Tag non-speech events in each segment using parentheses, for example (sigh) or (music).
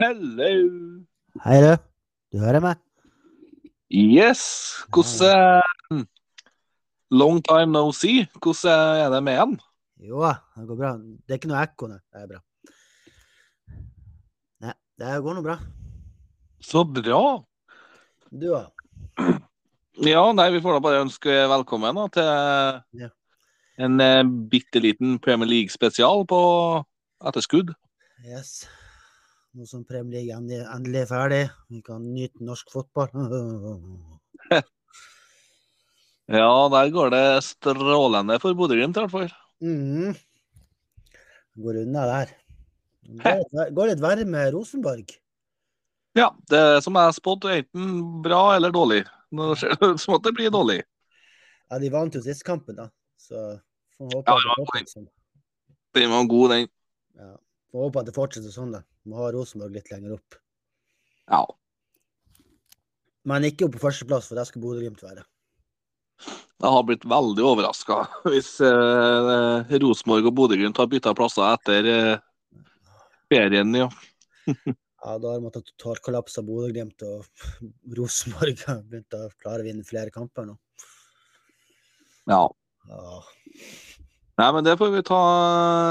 Hello. Hei, du. Du hører meg? Yes. Hvordan eh, Long time no see. Hvordan er det med en? Jo da, det går bra. Det er ikke noe ekko nå. Det er bra. Nei, det går nå bra. Så bra. Du da? Ja, nei, vi får da bare ønske velkommen da, til Ja. en eh, bitte liten Premier League-spesial på etterskudd. Yes. Nå som Premier League endelig- endelig er ferdig, vi kan nyte norsk fotball. (laughs) Ja, der går det strålende for Bodø-Glimt, i hvert fall. Mhm. Går unna der. Går litt- Går litt verre med Rosenborg. Ja, det er som jeg spådde, enten bra eller dårlig. Nå ser det ut som at det blir dårlig. Ja, de vant jo sist kampen, da. Så får vi håpe Ja, at ja, det fortsetter sånn. Den var god, den. Ja. Får håpe at det fortsetter sånn, da. Må ha Rosenborg litt lenger opp. Ja. Men ikke opp på førsteplass, for der skal Bodø-Glimt være. Jeg har blitt veldig overraska (laughs) hvis eh, Rosenborg og Bodø-Glimt har bytta plasser etter eh, ferien. Ja. Ja, da har de hatt totalkollaps av Bodø-Glimt, og (laughs) Rosenborg har begynt å klare å vinne flere kamper nå. ja. Ja, Nei, men det får vi ta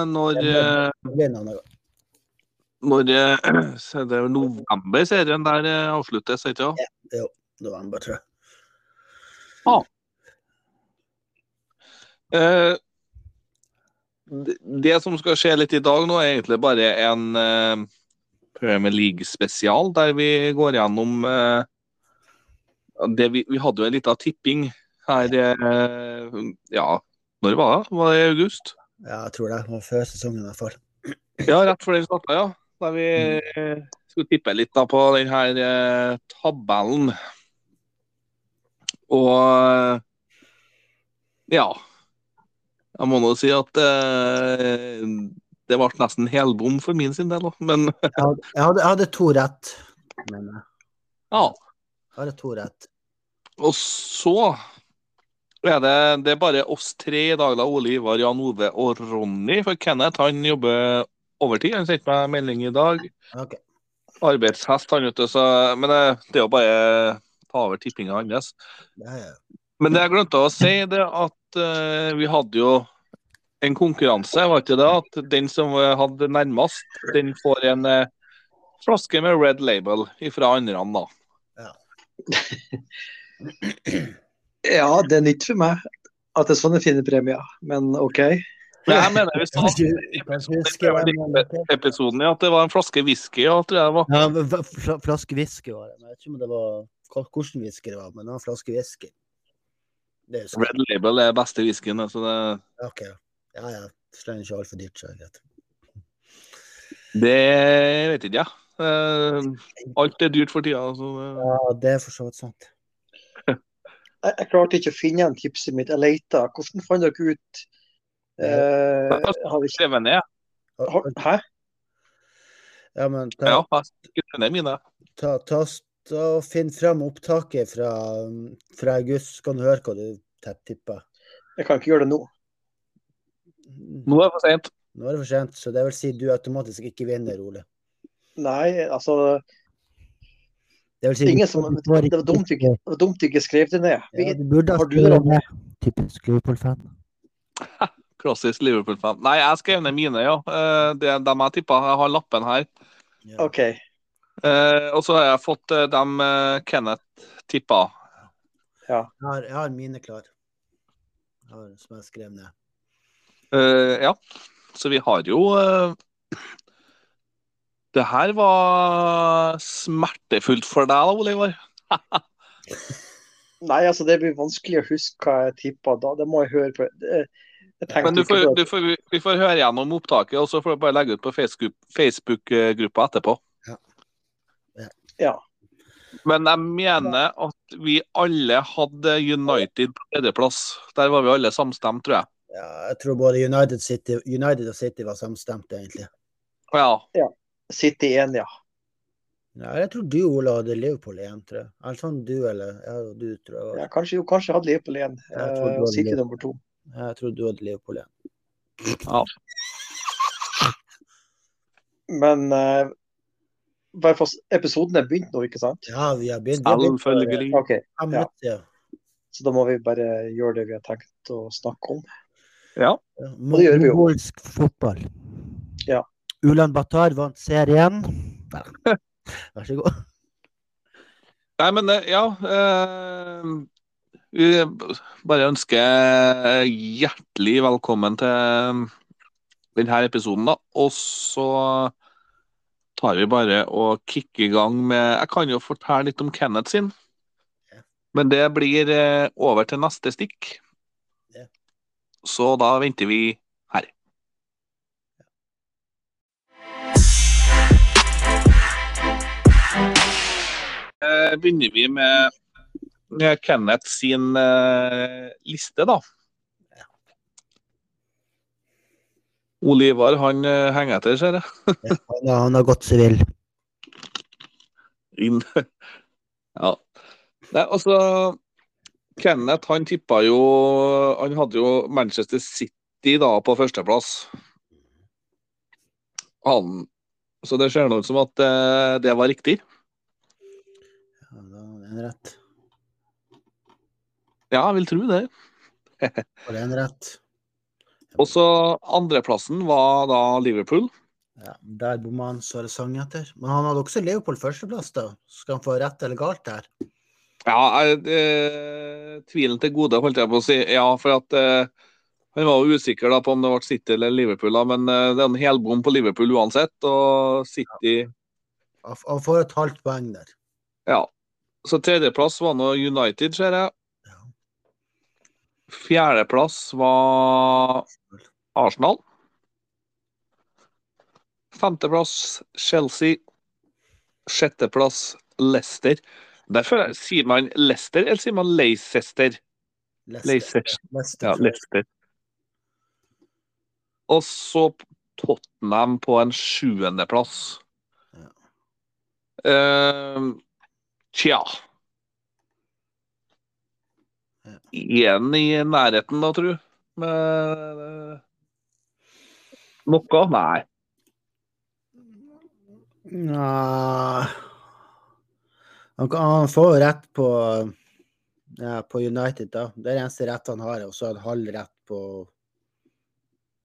når eh, det blir en annen gang. Når eh, (clears throat) så Det er jo november serien der eh, avsluttes, ikke sant? november, tror jeg. Eh, det- det som skal skje litt i dag nå, er egentlig bare en eh, Premier League-spesial der vi går gjennom eh, det vi, vi hadde jo en liten tipping her eh, Ja, når var det? Var det i august? Ja, jeg tror det. Det var før sesongen i hvert fall. Ja, rett før den starta, ja. Der vi eh, skulle tippe litt da på den her eh, tabellen. Og eh, ja. Jeg må nå si at eh, det ble nesten helbom for min sin del òg, men Jeg hadde, jeg hadde, jeg hadde to rett, mener jeg. ja. Jeg hadde to rett. Og så er det, det er bare oss tre i dag, da. Ole Ivar, Jan Ove og Ronny. For Kenneth han jobber overtid. Han sendte meg melding i dag. Ok. Arbeidshest, han, vet du. Så, men det, det er jo bare ta over tippinga hans. Ja, ja. Men det jeg glemte å si, det er at eh, vi hadde jo en konkurranse, var ikke det? At den som eh, hadde nærmest, den får en eh, flaske med Red Label ifra andre, da. Ja, det er nytt for meg at det er sånne fine premier, men OK. Men jeg mener vi sa Kanskje kanskje jeg husker hva jeg mente. episoden, ja. At det var en flaske whisky, ja, tror jeg det var. Ja, men fla- fla- flaske whisky var det. Men Jeg vet ikke om det var hvilken whisky det var, men det var flaske whisky. Det husker jeg. Red Label er beste whiskyen, altså, så det, Ok, ja. Ja, ja. Slenger ikke altfor dyrt, så er det greit. det vet ikke jeg. Eh, alt er dyrt for altså, tida. Så, det- Ja, det er for så vidt sant. Jeg, jeg klarte ikke å finne igjen tipset mitt. Jeg leita. Hvordan fant dere ut eh, har vi ikke, skrevet ned. har, Hæ? Ja, men ta, Ja, jeg har skrevet ned mine. ta, ta, ta og Finn fram opptaket fra, fra august, så kan du høre hva du tett tipper. Jeg kan ikke gjøre det nå. Nå Nå er det for sent. er det for sent, så det vil si du automatisk ikke vinner, Ole. Nei, altså Det vil si det er ingen som, Det var dumt vi ikke- det var dumt vi ikke skrev det ned. Vi, Ja, du burde har ha du det, skrevet ned. Typisk Liverpool-fan. Klassisk Liverpool-fan. Nei, jeg skrev ned mine, ja. Eh, Det er dem jeg tippa. Jeg har lappen her. Ja. OK. Eh, Og så har jeg fått eh, dem eh, Kenneth tippa. Jeg, har, jeg har mine klar. Jeg har, som jeg skrev ned. Eh, ja, så vi har jo eh, Det her var smertefullt for deg, da, Oliver. Nei, altså det blir vanskelig å huske hva jeg tippa da. Det må jeg høre på. Det- Jeg tenkte Men du ikke får, på du det. får, vi får høre gjennom opptaket, og så får du bare legge ut på Facebook- Facebook-gruppa etterpå. Ja. Ja. Ja. Men jeg mener at vi alle hadde United på tredjeplass. Der var vi alle samstemt, tror jeg. Ja, jeg tror både United, City, United og City var samstemte, egentlig. Ja. City 1, ja. Ja, jeg tror du, Ole, hadde Liverpool igjen, tror jeg. Eller sånn du eller ja, du, tror jeg. ja kanskje, jo, kanskje jeg hadde Liverpool 1 Jeg tror du eh, og hadde City Liverpool. nummer to. Jeg tror du hadde Liverpool igjen. Men eh, hvert fall episoden er begynt nå, ikke sant? Ja, vi har begynt. Vi har begynt for Selvfølgelig. OK, fem ja. minutter siden. så da må vi bare gjøre det vi har tenkt å snakke om. Ja. Ja, det gjør vi jo. Mongolsk fotball. Ja. Ulan Batar vant (laughs) serien. Nei. Vær så god. Nei, men eh, ja eh, Vi bare ønsker hjertelig velkommen til eh, denne episoden, da. Og så tar vi bare og kicker i gang med Jeg kan jo fortelle litt om Kenneth sin. Men det blir eh, over til neste stikk. Ja. Så da venter vi her. Eh, Begynner vi med med Kenneth sin eh, liste, da. Ole Ivar han eh, henger etter, ser jeg. Han, har- han har gått seg vill. Inn. (laughs) Ja. Nei, altså Kenneth han tippa jo Han hadde jo Manchester City da på førsteplass. Han Så det ser nå ut som at eh, det var riktig. Ja, da er det en rett. Ja, jeg vil tro det. Var det en rett? Og så andreplassen var da Liverpool. Ja, der bomma han, så er det sang etter. Men han hadde også Leopold førsteplass, da. Skal han få rett eller galt der? Ja, jeg, eh, tvilen til gode, holdt jeg på å si. Ja, for at eh, han var jo usikker da på om det ble City eller Liverpool, da, men eh, det er en helbom på Liverpool uansett. Og City Han f- Han får et halvt poeng der. Ja. Så tredjeplass var nå United, ser jeg. Ja. Fjerdeplass var Arsenal. Femteplass Chelsea. Sjetteplass Leicester. Der føler jeg, Sier man Leicester, eller sier man Leicester? Leicester. Leicester. Ja, Leicester. Og så Tottenham på en sjuendeplass. Ja. Eh, tja Ja. Igjen i nærheten, da, tru. Med noe? Nei. Nja han, kan- han får jo rett på, ja, på United, da. Det er den eneste rett han har, og så en halv rett på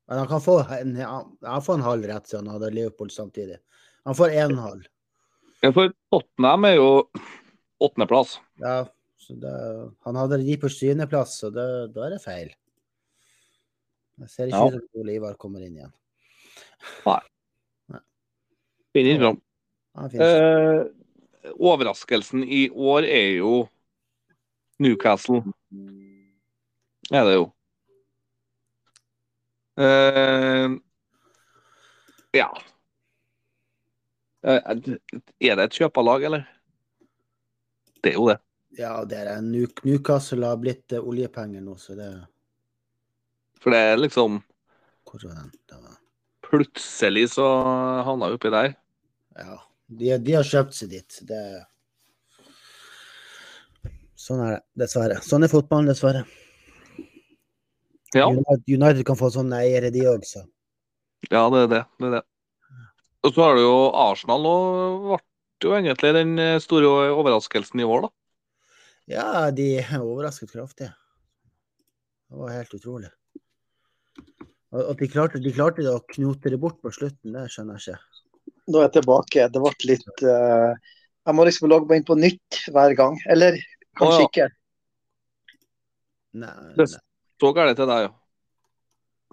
Men han kan få en, han- han får en halv rett, siden han hadde Leopold samtidig. Han får én halv. Ja, For Tottenham er jo åttendeplass. Ja, så det, han hadde de på syvendeplass, så det, da er det feil. Jeg ser ikke Ja. ut som Ole Ivar kommer inn igjen. Finner ikke fram. Han finnes. Eh, overraskelsen i år er jo Newcastle. Er det jo. Eh, ja. Eh, er det et kjøpalag, eller? Det er jo det. ja, det er en New- Newcastle har blitt eh, oljepenger nå, så det For det er liksom Hvor var den? Det var Plutselig så havna vi oppi der. Ja, de, de har kjøpt seg dit. Det... Sånn er det, dessverre. Sånn er fotballen, dessverre. Ja. United, United kan få sånne eiere, de òg, så. Ja, det er det. det, er det. Og så har du jo Arsenal nå. Ble jo egentlig den store overraskelsen i år, da. Ja, de er overrasket kraftig. Det var helt utrolig. Og og de klarte, de klarte det å knote det bort på slutten, det skjønner jeg ikke. Nå er jeg tilbake. Det ble litt eh, Jeg må liksom logge meg inn på nytt hver gang. Eller Å, kanskje ja. ikke. Nei, Det- nei. Så gærent er det, ja.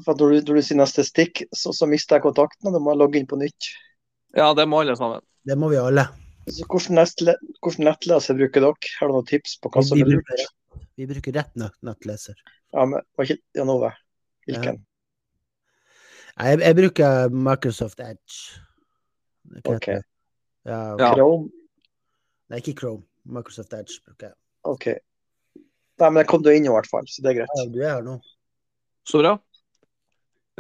For når du, når du sier neste stikk, så, så mister jeg kontakten, og da må jeg logge inn på nytt. Ja, det må alle sammen. Det må vi alle. Så hvordan, nestle, hvordan nettleser bruker dere? Har du noen tips på hva som Vi er lurt? bruker, vi bruker rett nø- nettleser. Ja, men var ikke Jan Ove? Hvilken? Nei, Jeg, jeg bruker Microsoft Edge. Det heter Ok. det. Ja, Ja. Chrome? Nei, ikke Chrome. Microsoft Edge bruker jeg. OK. Nei, men jeg kom du inn i hvert fall, så det er greit. Ja, du er her nå. Så bra.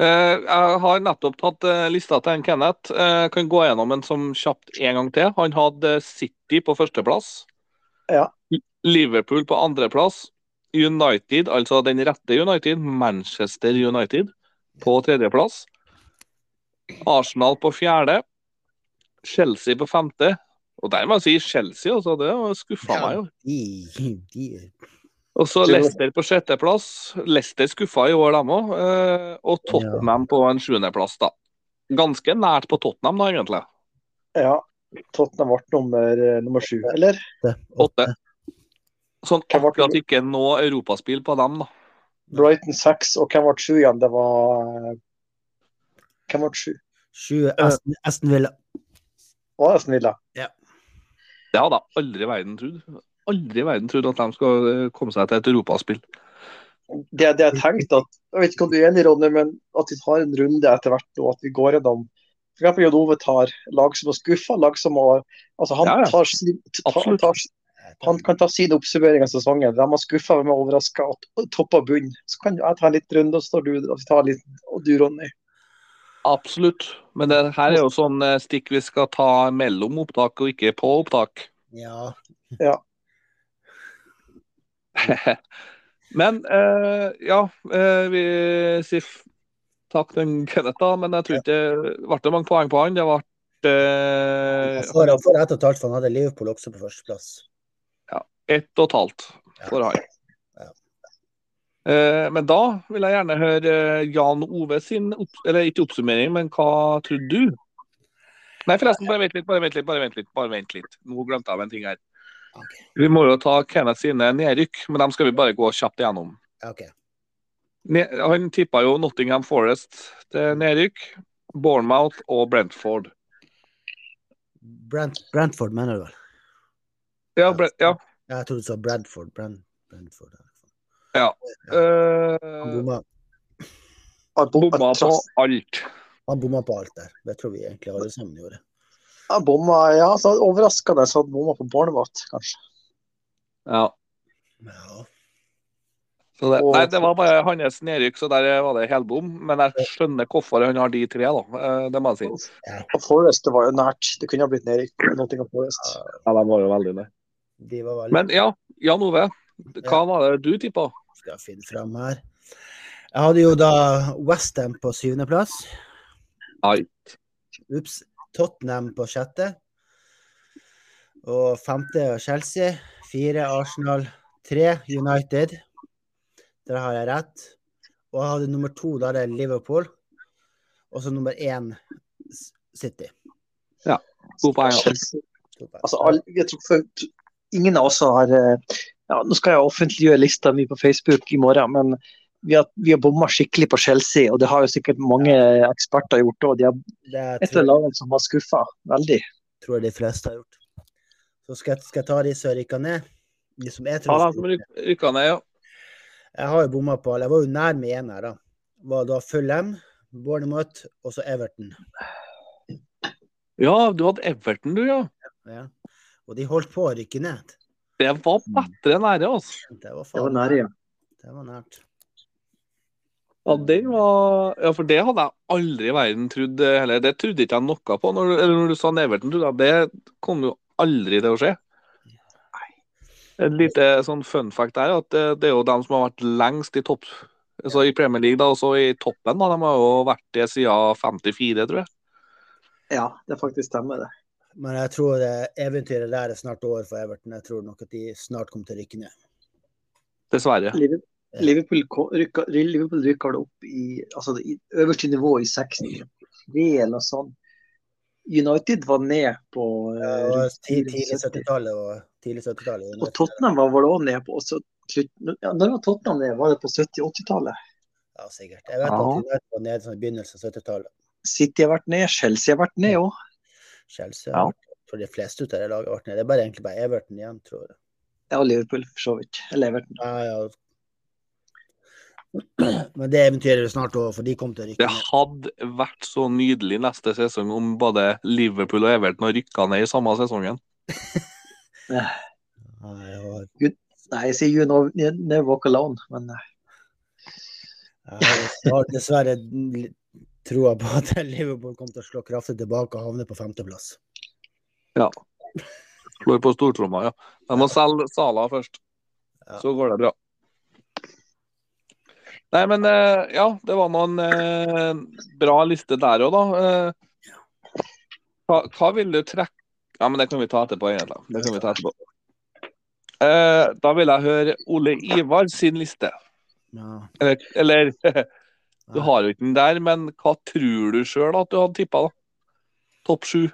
Eh, jeg har nettopp tatt eh, lista til en Kenneth. Eh, kan gå gjennom en som kjapt en gang til. Han hadde City på førsteplass. Ja. Liverpool på andreplass. United, altså den rette United, Manchester United, på tredjeplass. Arsenal på fjerde. Chelsea på femte. Og der må jeg si Chelsea, altså. Det skuffa meg jo. De, de, Og så Det var- Leicester på sjetteplass. Leicester skuffa i år, dem òg. Og Tottenham på en sjuendeplass, da. Ganske nært på Tottenham, da, egentlig. Ja. Tottenham ble nummer, eh, nummer sju, eller? åtte. Åtte. Sånn Hvem ble akkurat ikke nå europaspill på dem, da. Brighton seks, og hvem ble sju igjen? Det var eh, Hvem ble sju? Sju eh, Aston, Aston Villa. Var det Aston Villa? Det hadde jeg aldri i verden trodd. Aldri i verden trodd at de skal eh, komme seg til et europaspill. Det, det jeg tenkte at, Jeg vet ikke om du er enig, Ronny, men at vi tar en runde etter hvert nå, at vi går gjennom for eksempel Jon Ove tar lag som har skuffa, lag som har altså han, Ja, ja. Tar sin, ta, Absolutt. tar, han kan ta sin oppsummering av sesongen. Hvem har skuffa, hvem har overraska, topp og bunn. Så kan jeg ta en liten runde, og så tar du, og vi tar en liten, og du, Ronny. Absolutt. Men det her er jo sånn eh, stikk vi skal ta mellom opptak og ikke på opptak. Ja. (laughs) Men eh, ja, eh, vi sier f- takk til Kenneth, da. Men jeg tror ikke det ble det mange poeng på han. Det ble Han eh, får han får ett og et halvt, for han hadde Liverpool også på førsteplass. ett og et halvt Ja. for han. Ja. Eh, men da vil jeg gjerne høre eh, Jan Ove sin opp, Eller ikke oppsummering, men hva trodde du? Nei, forresten, bare vent litt, bare vent litt. bare vent litt, bare vent litt. Nå glemte jeg en ting her. Ok. Vi må jo ta Kenneth sine nedrykk, men dem skal vi bare gå kjapt igjennom. Ok. Ne- Han tippa jo Nottingham Forest til nedrykk, Bournemouth og Brentford. Brent, Brentford, mener du vel? Ja, Brent, ja. Ja, jeg tror du sa Bradford. Brent, Brentford. Han øh, bomma, Jeg bom- bomma jeg på traff- alt. han bomma på alt der. Det tror vi egentlig alle sammen gjorde. jeg bomma, ja, så overraskende så han bomma på Barnemat, kanskje. Ja. Ja. Så det, Og- nei, det var bare hans nedrykk, så der var det helbom. Men jeg skjønner hvorfor han har de tre, da. Eh, Det må jeg si. Og Forest det var jo nært. Det kunne ha blitt nedrykk. men Nottingham Forest. Ja, de var jo veldig det. De var veldig Men ja, Jan Ove. Hva var det du tippa? Skal jeg finne fram her. Jeg hadde jo da Westham på syvendeplass. Ai. Ups. Tottenham på sjette. Og femte var Chelsea. Fire Arsenal. Tre United. Der har jeg rett. Og jeg hadde nummer to, da er det Liverpool. Og så nummer én S- City. To poeng. da. Chelsea Altså, all, jeg tror for, ingen av oss har eh, ja, Nå skal jeg offentliggjøre lista mi på Facebook i morgen, men vi har, vi har bomma skikkelig på Chelsea, og det har jo sikkert mange eksperter gjort òg. De er det et av tror, lagene som har skuffa veldig. tror jeg de fleste har gjort. Så skal, jeg- skal jeg ta de som rykker ned? De som jeg Ja, tror de som ryk- rykka ned, ja. Jeg har jo bomma på alle. Jeg var jo nær med én her, da. Var da Fulham, Bournemouth og så Everton. Ja, du hadde Everton, du, ja. Ja. Og de holdt på å rykke ned. Det var bedre nære, altså. Det var Det var faen nære, ja. Det var nært. Ja, den var... ja, for det hadde jeg aldri i verden trodd eh, heller. Det trodde ikke jeg noe på. Når, eller når du sa Neverton, trodde jeg det kom jo aldri til å skje. Et lite sånn fun fact der, at eh, det er jo dem som har vært lengst i topp... Så I Premier League da, og så i toppen. da, De har jo vært det siden 54, tror jeg. Ja, det faktisk stemmer, det. Men jeg tror det eventyret der er snart over for Everton. Jeg tror nok at de snart kommer til å rykke ned. Dessverre. Liverpool- Liverpool ko- rykka- Liverpool rykker det opp i altså i øverste nivå i 63 eller noe sånt. United var ned på Det eh, var rundt ti- Tidlig 70. 70-tallet og tidlig 70-tallet. Og Tottenham var vel også nede på også, slutt- ja, Når var Tottenham nede? Var det på 70-80-tallet? Ja, sikkert. Jeg vet at Ja. United var nede sånn i begynnelsen av 70-tallet. City har vært ned, Chelsea har vært ned òg. Chelsea Ja. har vært- for de fleste ut av det laget har vært nede. Det er bare egentlig bare Everton igjen, tror jeg. Ja, og Liverpool for så vidt. Eller Everton. Ja, ja. Men det eventyret er snart over, for de kommer til å rykke Det ned. hadde vært så nydelig neste sesong om både Liverpool og Everton har rykka ned i samme sesongen. Nei, jeg har- Nei, jeg sier you know, you never walk alone, men eh, jeg har dess- jeg har dessverre l- troa på at Liverpool kommer til å slå kraftig tilbake og havne på femteplass. Slår på stortromma, ja. De må selge Sala først. Ja. Så går det bra. Nei, men eh, ja, det var nå en eh, bra liste der òg, da. Eh, Hva, hva vil du trekke Ja, men det kan vi ta etterpå, egentlig. Det kan vi ta etterpå. Eh, da vil jeg høre Ole Ivar sin liste. Ja. Eller, eller du har jo ikke den der, men hva tror du sjøl at du hadde tippa, da? Topp sju?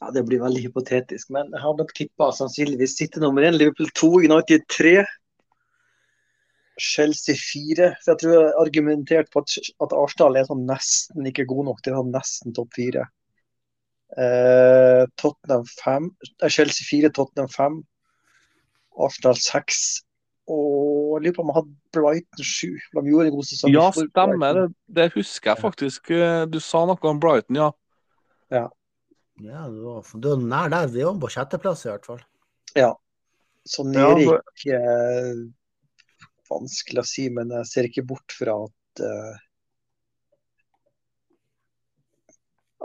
Ja, Det blir veldig hypotetisk, men jeg har nok tippa sannsynligvis City nummer én, Liverpool to, United tre, Chelsea fire. For jeg tror jeg har argumentert på at, at Arsdal er sånn nesten ikke god nok til å ha nesten topp fire. Eh, Tottenham fem, eh, Chelsea fire, Tottenham fem, Arsenal seks. Og jeg lurer på om jeg hadde Brighton sju. for De gjorde en god sesong. Ja, i fjor, stemmer det. Brighton. Det husker jeg faktisk. eh, Du sa noe om Brighton, ja. Ja, du var, du var nær der. Vi var på sjetteplass, i hvert fall. Ja, Så nede for- ikke eh, Vanskelig å si, men jeg ser ikke bort fra at eh,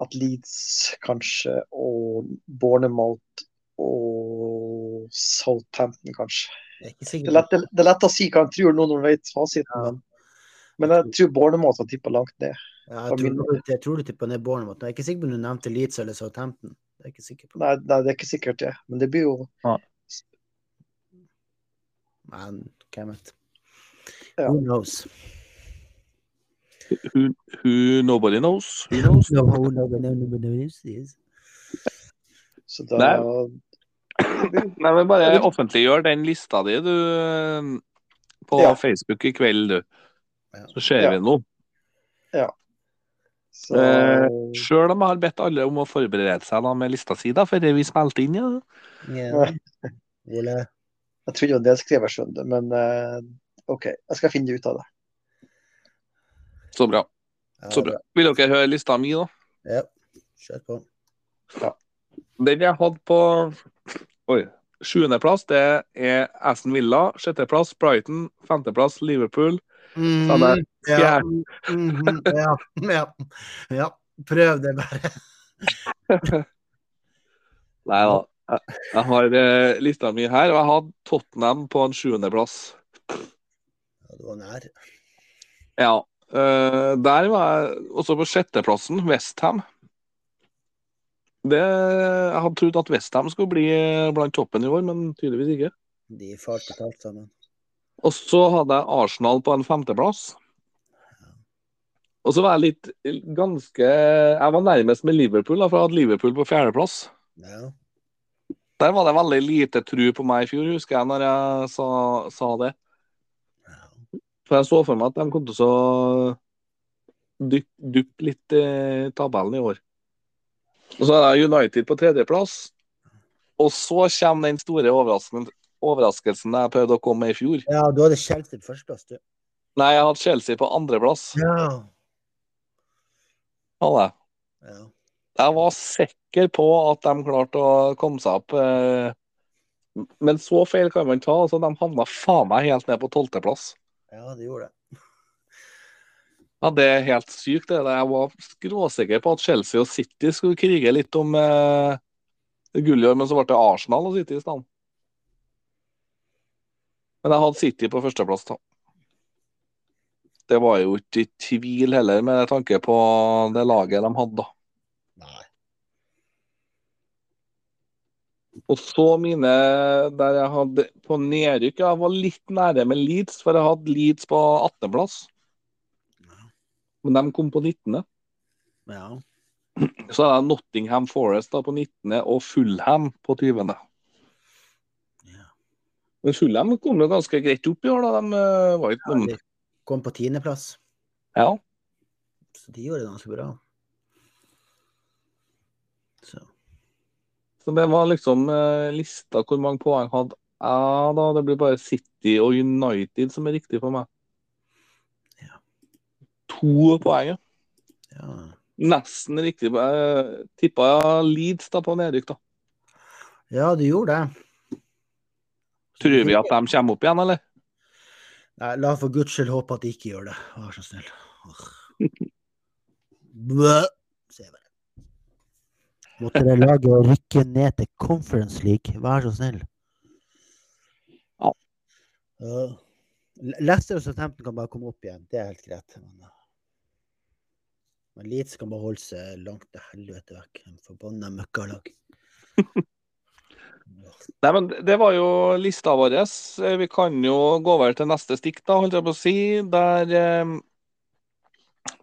At Leeds kanskje, og Bournemouth og Southampton kanskje. Jeg er ikke Det sikker er lett, det er lett å si hva en tror nå når en vet fasiten, Ja. men, men jeg tror Bournemouth har tippa langt ned. Ja, jeg, tror, du- jeg tror du tipper ned Bournemouth. Jeg er ikke sikker på om du nevnte Leeds eller Southampton. Jeg er ikke sikker på. Nei, nei, det er ikke sikkert det, men det blir jo Men hvem vet. Ja. Who knows? Who, who nobody knows. Who (laughs) knows? No, who knows? Yes. Så da Nei. Nei, men bare offentliggjør den lista di, du, eh, på Ja. Facebook i kveld, du. Ja. Så ser Ja. vi noe. så, Eh, Sjøl om jeg har bedt alle om å forberede seg da med lista si, da, før vi spilte inn, ja. Ja. Ole. Jeg trodde jo en del skrev jeg skjønner, men eh, OK, jeg skal finne ut av det. Så bra. Ja, Så bra. Vil dere høre lista mi, da? Ja. Kjør på. Den jeg hadde på Oi. Sjuendeplass, det er Aston Villa. Sjetteplass Brighton. Femteplass Liverpool. Ja, der. Mm, ja. mhm, ja. ja. ja. Prøv det bare. Nei da. Jeg, jeg har eh, lista mi her, og jeg hadde Tottenham på en sjuendeplass. Ja, du var nær. Ja. eh, der var jeg også på sjetteplassen, Westham. Det, jeg hadde trodd at Westham skulle bli eh, blant toppen i år, men tydeligvis ikke. De falte alt sammen. Og så hadde jeg Arsenal på en femteplass. Og så var jeg litt eh, ganske Jeg var nærmest med Liverpool, da, for jeg hadde Liverpool på fjerdeplass. Ja. Der var det veldig lite tru på meg i fjor, husker jeg, når jeg sa, sa det. ja. For jeg så for meg at de kom til å duppe dupp litt i tabellen i år. Og så er det United på tredjeplass. Og så kommer den store overraskelsen, overraskelsen jeg prøvde å komme med i fjor. ja du hadde Chelsea på førsteplass, du. Nei, jeg hadde Chelsea på andreplass. Ja. hadde jeg. ja. Jeg var sikker på at de klarte å komme seg opp. eh, Men så feil kan man ta. altså De havna faen meg helt ned på tolvteplass. Ja, det gjorde det. Ja, det er helt sykt. det der. Jeg var skråsikker på at Chelsea og City skulle krige litt om eh, gull i år, men så ble det Arsenal og City i stedet. Men jeg hadde City på førsteplass, da. Det var jo ikke i tvil heller, med tanke på det laget de hadde, da. Nei. Og så mine der jeg hadde på nedrykk Jeg var litt nære med Leeds, for jeg hadde Leeds på 18.-plass. Men de kom på 19. Ja. Så hadde jeg Nottingham Forest da på 19. og Fulham på 20. Ja. Men Fulham kom jo ganske greit opp i år, da. De eh, var ikke noen De kom på tiendeplass, Ja. så de gjorde det ganske bra. Så. Så det var liksom eh, lista hvor mange poeng hadde ja da, det blir bare City og United som er riktig for meg. Ja. To poeng, ja. Ja. Nesten riktig. eh, Jeg tippa Leeds da på nedrykk, da. ja, du gjorde det. Tror vi at de kommer opp igjen, eller? Nei, la for guds skyld håpe at de ikke gjør det, vær så snill. Åh. Bø. Se bare. Måtte det laget rykke ned til Conference League, vær så snill. Ja. Ja. Leicester og Southampton kan bare komme opp igjen, det er helt greit. Men, eh, Men Leeds kan bare holde seg langt til helvete vekk. En forbanna møkkalag. Nei, men det var jo lista vår. Eh, Vi kan jo gå over til neste stikk, da, holdt jeg på å si. Der eh,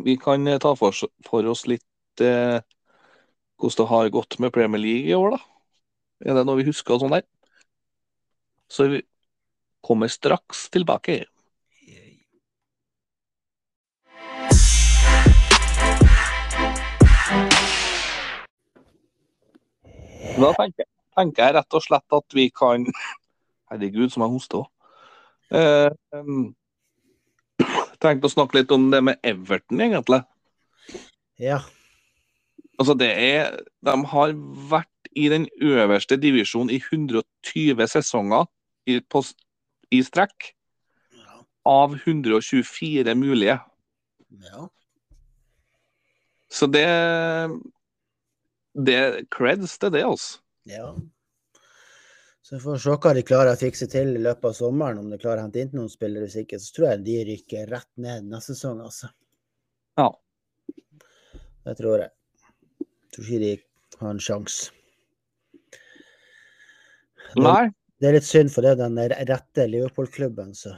vi kan eh, ta for, oss- for oss litt eh, hvordan det har gått med Premier League i år, da. Er det noe vi husker og sånn der? Så vi kommer straks tilbake. Da tenker, tenker jeg rett og slett at vi kan (laughs) Herregud, som jeg hoster òg. Eh, em, (clears throat) tenkte å snakke litt om det med Everton, egentlig. Ja. Altså, det er De har vært i den øverste divisjonen i 120 sesonger i, på, s- i strekk. Av 124 mulige. ja. Så det Det er creds til det, altså. Ja. Så vi får se hva de klarer å fikse til i løpet av sommeren, om de klarer å hente inn noen spillere. Hvis ikke, så tror jeg de rykker rett ned neste sesong, altså. Ja. Det tror jeg. Tror ikke de har en sjanse. Det, Nei, det er litt synd, for det er den rette Liverpool-klubben, så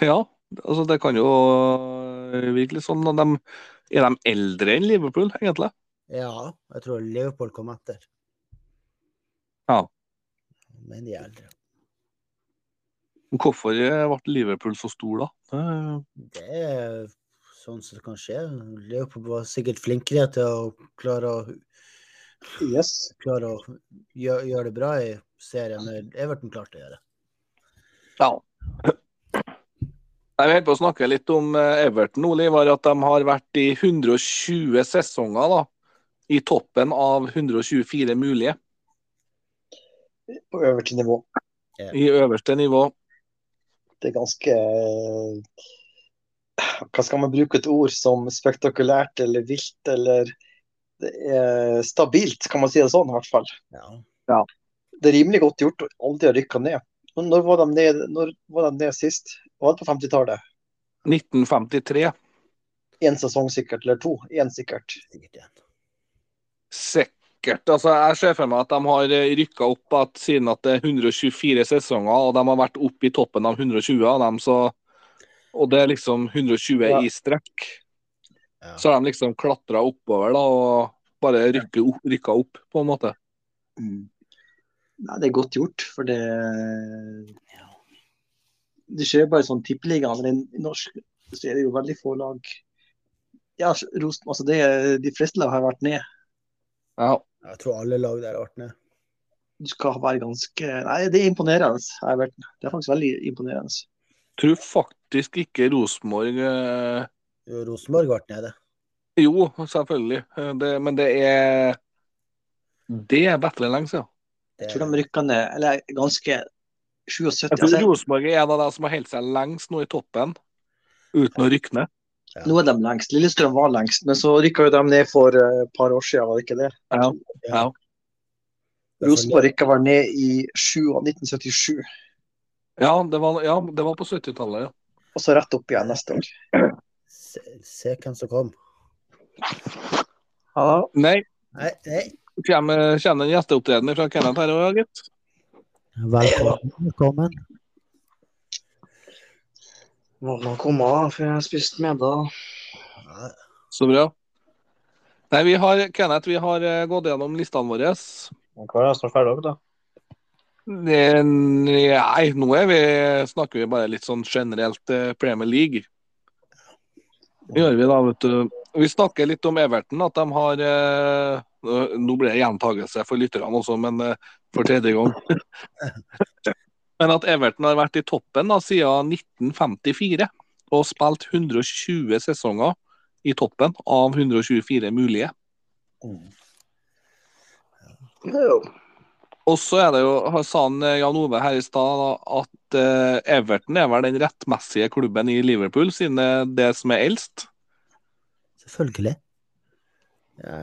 ja. Altså, det kan jo virkelig sånn at de Er de eldre enn Liverpool, egentlig? Ja, jeg tror Liverpool kom etter. Ja. Men de er eldre. Hvorfor ble Liverpool så stor da? Det- Det er sånn som det kan skje. Leopold var sikkert flinkere til å klare å, Yes. klare å gjøre, gjøre det bra i serien enn Everton klarte å gjøre. Ja. Jeg vil på å snakke litt om eh, Everton. Ole, var at De har vært i 120 sesonger da, i toppen av 124 mulige På øverste nivå. i øverste nivå. Det er ganske Hva skal man bruke et ord som spektakulært eller vilt eller det er stabilt, kan man si det sånn i hvert fall. Ja. Det er rimelig godt gjort å aldri ha rykka ned. Men Når var de ned, når var de ned sist? Var det på 50-tallet? 1953, Én sesong sikkert, eller to. Én sikkert. Sikkert igjen. sikkert. Altså, jeg ser for meg at de har rykka opp at, siden at det er 124 sesonger, og de har vært oppe i toppen av 120 av dem. Så, og det er liksom 120 Ja. i strekk. Ja. Så har de liksom klatra oppover da, og bare rykket opp- rykka opp, på en måte. Mm. Nei, det er godt gjort, for det Det skjer bare sånn tippeligaen, men i norsk så er det jo veldig få lag Ja, Rosen, altså det, er- de fleste lag har vært ned. Ja. Jeg tror alle lag der har vært ned. Du skal være ganske Nei, det er imponerende. Everton. Det er faktisk veldig imponerende. tror faktisk ikke Rosenborg eh, Jo, Rosenborg ble nede. Jo, selvfølgelig, eh, det, men det er Det er bedre lenge siden. Det, Jeg tror de rykka ned, eller ganske 77. Jeg tror Altså, Rosenborg er en av de som har holdt seg lengst nå i toppen, uten å rykke ned. nå er de lengst. Lillestrøm var lengst, men så rykka jo de ned for eh, et par år siden, var det ikke det? Ja. Ja. det er for- Rosenborg rykka vel ned i 7 av 1977, Ja, det var, ja, det var på 70-tallet, ja. og så rett opp igjen neste år. Se, se hvem som kom. Ja, Nei, Nei, nei. kommer kommer en gjesteopptreden fra Kenneth her òg, gitt. Velkommen. Velkommen. Mamma kom av før jeg spiste middag. Ja, Så bra. Nei, vi har, Kenneth, vi har eh, gått gjennom listene våre. Men hva er det som er ferdig, da? Det- Nei, nå er vi, snakker vi bare litt sånn generelt eh, Premier League. Det gjør vi da, vet du. Vi snakker litt om Everton, at de har eh, nå- Nå blir det gjentagelse for lytterne også, men eh, for tredje gang. (laughs) men at Everton har vært i toppen da, siden 1954 og spilt 120 sesonger i toppen av 124 mulige. mm. Og så er det jo, sa han eh, Jan Ove her i stad, da, at eh, Everton er vel den rettmessige klubben i Liverpool, siden det er det som er eldst. selvfølgelig. Jeg,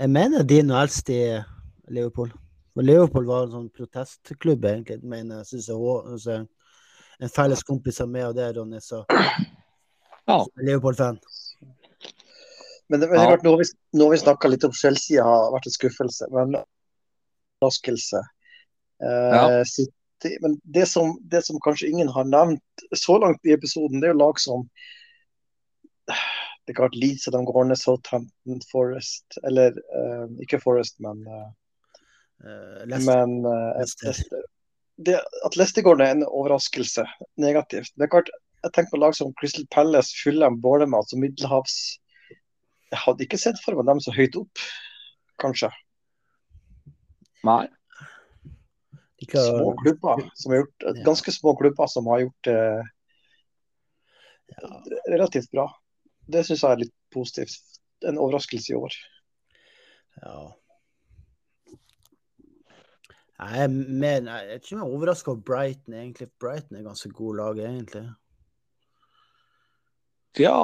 jeg mener de er noe eldst i Liverpool. Men Liverpool var en sånn protestklubb, egentlig. Mener, jeg synes jeg, også. Altså, en felles kompis av meg og det, Ronny, så Ja. som er Liverpool-fan. Men det, men det er Ja. klart, nå har vi, nå har vi snakka litt om Chelsea, har vært en skuffelse. Men overraskelse. Eh, Ja. City- men det som, det som kanskje ingen har nevnt så langt i episoden, det er jo lag som Det er klart Leeds og de går ned Southampton, Forest Eller eh, ikke Forest, men, eh, Eh, Leicester. men eh, Leicester. Leicester. Det, at Leicester går ned er en overraskelse. Negativt. Det er klart, jeg tenker på lag som Crystal Palace, Fulham, Bournemouth og Middelhavs Jeg hadde ikke sett for meg dem så høyt opp, kanskje. Nei. De klarer Små å- klubber som har gjort Ja. Ganske små klubber som har gjort det relativt bra. Det syns jeg er litt positivt. En overraskelse i år. Ja. Nei, Jeg, mener, jeg er ikke overraska over Brighton, egentlig. Brighton er ganske god lag, egentlig. Ja,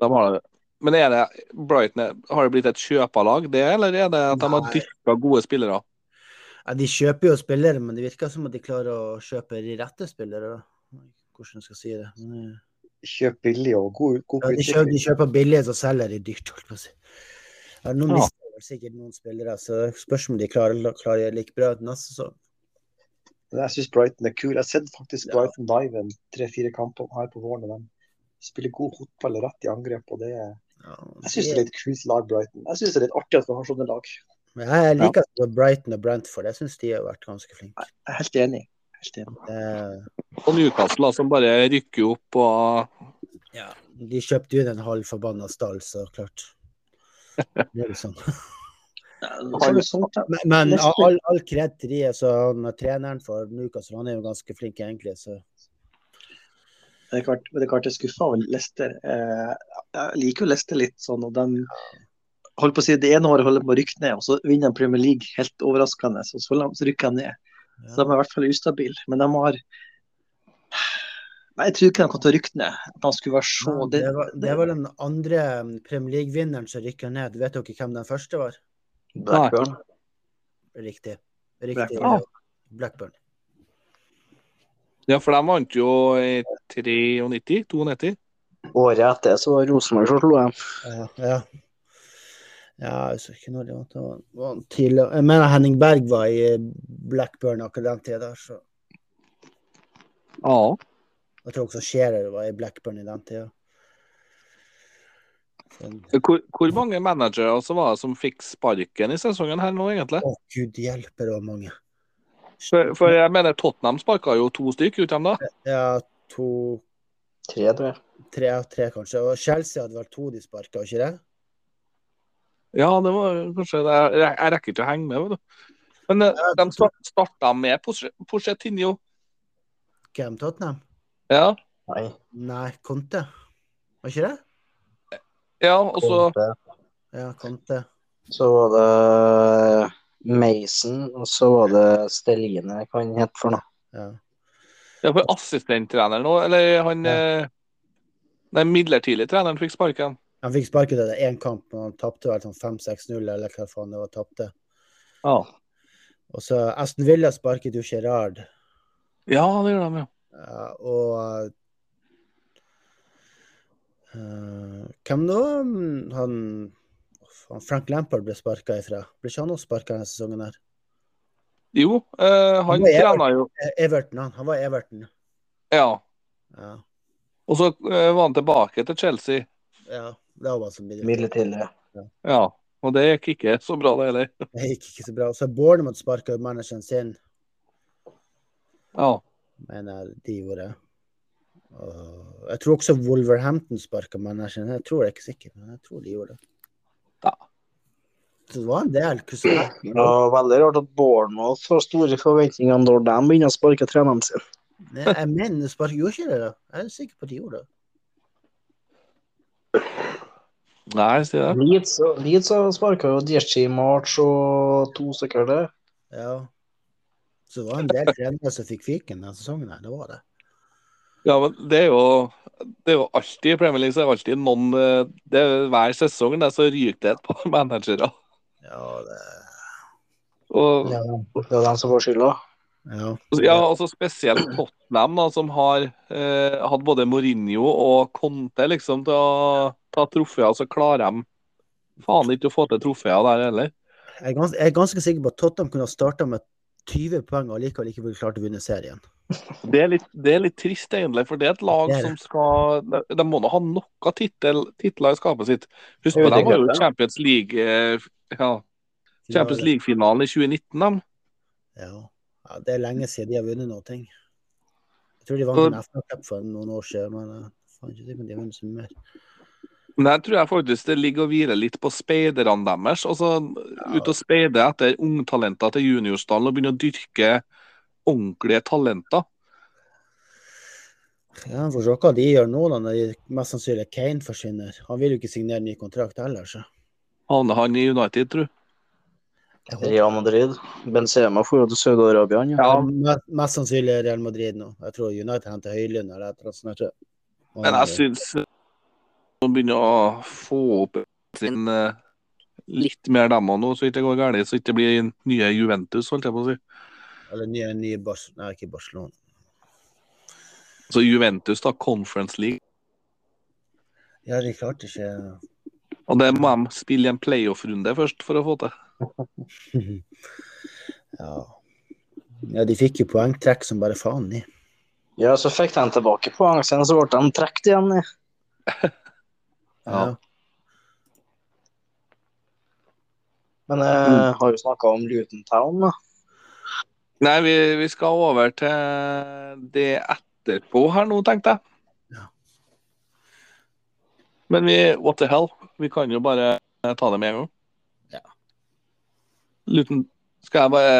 de har det. Men er det Brighton er- Har det blitt et kjøperlag, det, eller er det at de har Nei. dyrka gode spillere? Ja, de kjøper jo spillere, men det virker som at de klarer å kjøpe de rette spillere. da. Hvordan skal jeg si det? Men, eh, Kjøp billig og god, god Ja, de, kjøper, de utvikling. kjøper billig, så selger de dyrt, holdt på å si. Ja, nå Ja. mister de sikkert noen spillere, så det spørs om de klarer, klarer å gjøre like bra neste sesong. Men Jeg syns Brighton er kul. Jeg har sett faktisk Ja. Brighton live en tre-fire kamper her på våren. og De spiller god fotball og rett i angrep. og det er Ja, Jeg syns det er litt kult lag, Brighton. Jeg syns det er litt artig at vi har sånne lag. Men jeg liker at det var Brighton og Brentford. Jeg syns de har vært ganske flinke. Jeg er helt enig. Helt enig. Eh, Og Newcastle da, som bare rykker opp og De kjøpte jo den halv forbanna stall, så (laughs) klart. Det er jo sånn. Så har du solgt dem. Men, men Neste- all, all kred til de, altså, han, treneren for Newcastle, han er jo ganske flink egentlig, så Det er klart, men det er klart jeg er skuffa over Leicester. Eh, jeg liker jo Leicester litt sånn, og de holdt på å si det ene året holder de på å rykke ned, og så vinner de Premier League helt overraskende, og så, la- så rykker de ned. Så de er i hvert fall ustabile. Men de har Nei, jeg tror ikke de kommer til å rykke ned. De skulle være så Ja, det, det, var, det var den andre um, Premier League-vinneren som rykka ned. Vet dere hvem den første var? Blackburn. Riktig. Riktig. Blackburn. Blackburn. Ja, for de vant jo i 93, 92. Året etter så var Rosenborg som slo dem. Ja. ja. Ja, jeg husker ikke når det var. Det var- det var tidlig. Jeg mener Henning Berg var i eh, Blackburn akkurat den tida der, så Ja. jeg tror også Scherer var i Blackburn i den tida. Så- Hvor, hvor mange managere så var det som fikk sparken i sesongen her nå, egentlig? Å, gud hjelpe, det var mange. For, for jeg mener Tottenham sparka jo to stykk ut dem da. Ja, to Tre, tror jeg. Tre av tre, kanskje. Og Chelsea hadde vel to de sparka, ikke det? Ja, det var kanskje det. Jeg, jeg rekker ikke å henge med, vet du. Men eh, de sta- starta med Porsche- Pochettino. Hvem Tottenham? Ja. Nei. Nei, Conte. Var ikke det? ja, og så Conte. Ja, Conte. Så var det Mason, og så var det Stelline, hva han het for noe. Ja. ja, for assistenttrener nå, eller han Ja. eh, Nei, midlertidig treneren fikk sparken. Han fikk sparket etter én kamp, men han tapte vel sånn 5-6-0, eller hva faen det var. Tapte. Ja. Og så eh, Aston Villa sparket jo Gerrard. ja, det gjør de, ja. Ja, og eh, Hvem nå? Han, han Frank Lampard ble sparka ifra. Ble ikke han også sparka denne sesongen her? Jo, eh, han Nå er jeg- trena jo Eh, Everton, han. Han var i Everton. Ja. Ja. Og så eh, var han tilbake til Chelsea. ja det var bare sånn midlertidig. Midlertidig. Ja. Og det gikk ikke så bra, det heller. Det gikk ikke så bra. Så Bournemouth sparka jo manageren sin, Ja. mener de gjorde. Og jeg tror også Wolverhampton sparka manageren. Jeg tror det er ikke sikkert, men jeg tror de gjorde det. Ja. Så det var en del. kusiner. Det var veldig rart at Bournemouth får store forventninger når de begynner å sparke treneren sin. Men jeg mener de sparka jo ikke det, da. Jeg er sikker på at de gjorde det. Nei, si det. Leeds, Leeds sparka jo Djertsi i mars og to stykker til. Ja. Så det var en del trenere som fikk fiken denne sesongen. her, Det var det. Ja, men det er jo det er jo alltid i Premier League så er det alltid noen eh, det er Hver sesong der så ryker det et par (laughs) managere. Ja, det... Og, Ja, det var dem som får skylda. Ja. ja, altså Spesielt Tottenham, da, som har eh, hatt både Mourinho og Conte liksom, til å ta trofeer, så klarer de faen ikke å få til trofeer der heller. Jeg er, ganske, jeg er ganske sikker på at Tottenham kunne ha starta med 20 poeng og likevel ikke ville klart å vinne serien. Det er, litt, det er litt trist, egentlig, for det er et lag Det er det. som skal De, de må nå ha noe tittel, titler i skapet sitt. Husk Det er på, jo de var jo sikkert, i Champions League eh, ja, Champions League-finalen i 2019, de. Ja. ja, det er lenge siden de har vunnet noe. ting. Jeg tror de vant en FA-cup for noen år siden, men jeg er ikke sikker på om de har vunnet så mye mer. Men jeg tror jeg faktisk det ligger og hviler litt på speiderne deres. Altså ut og speide etter ungtalenter til juniorstallen og begynne å dyrke ordentlige talenter. Ja, Vi får se hva de gjør nå, da, når de mest sannsynlig Kane forsvinner. Han vil jo ikke signere ny kontrakt heller, så Havner han i United, tror jeg. jeg håper Real Madrid. Benzema for jo til Saudi-Arabia. han, Ja. Ja. Me- Mest sannsynlig Real Madrid nå. Jeg tror United henter Høylund eller et eller annet sånt. Men jeg syns de begynner å få opp sin eh, litt mer dem òg nå, så ikke det går galt. Så ikke det blir nye Juventus, holdt jeg på å si. Eller nye, nye Bars Nei, ikke Barcelona. Så Juventus, da. Conference League. Ja, de klarte ikke (laughs) Og det må de spille i en playoff-runde først for å få til. ja. ja, de fikk jo poengtrekk som bare faen, de. så fikk de tilbake poeng, sen så ble de trukket igjen. ja. Ja. Men Mm. jeg har jo snakka om Luton Town, da. Nei, vi, vi skal over til det etterpå her nå, tenkte jeg. Ja. Men vi, what the hell? Vi kan jo bare ta det med en gang. Ja. Luton, skal jeg bare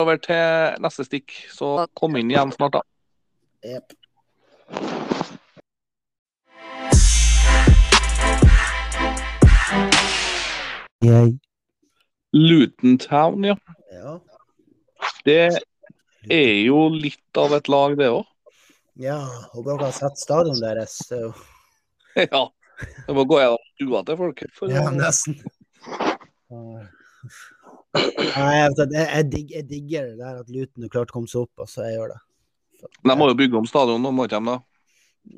over til neste stikk, så kom inn igjen snart, da. Jep. Luton Town, ja. Ja. Det er jo litt av et lag, det òg. ja. Og bare å ha sett stadionet deres. det er jo- (laughs) ja. Det må gå gjennom stua til folk. For, Ja, nesten. Nei, jeg, vet at jeg, jeg, digg, jeg digger det der at Luton har klart å komme seg opp. Altså, jeg gjør det. De må jo bygge om stadion nå, må ikke de da?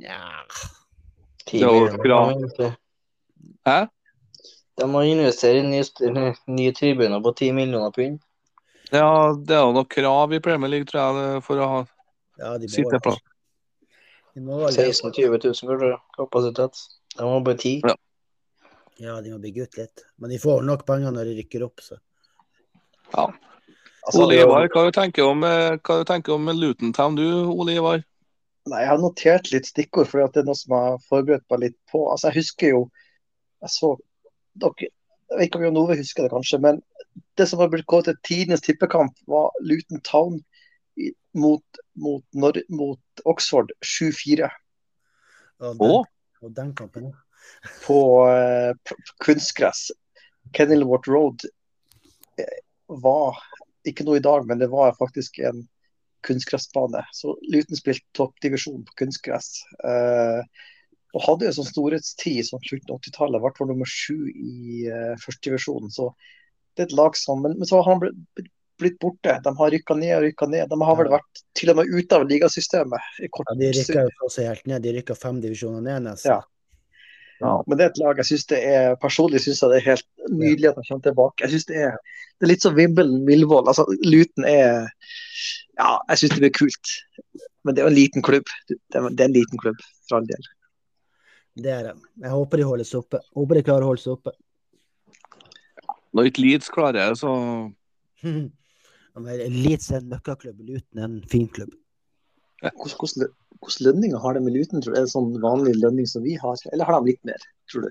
Nja. Det var bra. Hæ? De må investere i ny, st- ny tribune på 10 millioner pund. Ja, det er jo noe krav i Premier League, tror jeg, det- for å ha Ja, de må Sitter vel- på. De må vel 16 000-20 000 burde kapasitet. De må bare 10. Ja, de må bygge ut litt. Men de får nok penger når de rykker opp, så. Altså, Ole det er jo- Ivar, hva du tenker om, eh, hva du tenker om Luton Town, du, Ole Ivar? Nei, jeg har notert litt stikkord, for det er noe som jeg har forberedt meg litt på. Altså, Jeg husker jo Jeg så dere, Jeg vet ikke om Jon Ove husker det, kanskje, men det som har blitt kalt til tidenes tippekamp, var Luton Town i- mot, mot, Nor mot Oxford 7-4 Og den, Å? og den kampen, ja. på eh, p- kunstgress. Kenilworth Road eh, var ikke noe i dag, men det var faktisk en kunstgressbane. Så Luton spilte toppdivisjon på kunstgress. Eh, og hadde jo en sånn storhetstid som slutten av 80-tallet, ble for nummer sju i eh, førstedivisjonen. Så det er et lag som Men, men så har han blitt, blitt borte. De har rykka ned og rykka ned. De har vel vært til og med ute av ligasystemet. i kort ja de stund. rykker jo også helt ned. De rykker fem divisjoner ned, nesten. Ja. Men det er et lag jeg synes det er personlig synes jeg det er helt nydelig at han kommer tilbake. Jeg synes det er, det er litt som Wimbledon Millvoll. Altså, Luton er Ja, jeg synes det blir kult. Men det er jo en liten klubb. Det er, det er en liten klubb, for all del. Det er det. Jeg håper de holdes oppe. Håper de klarer å holde seg oppe. (laughs) Når ikke Leeds klarer det, så Ja, men Leeds er en møkkaklubb. Luton er en fin klubb. Hvordan- Hvordan lø- hvordan lønninger har de med Luton? Tror du? Er det sånn vanlig lønning som vi har, eller har de litt mer, tror du?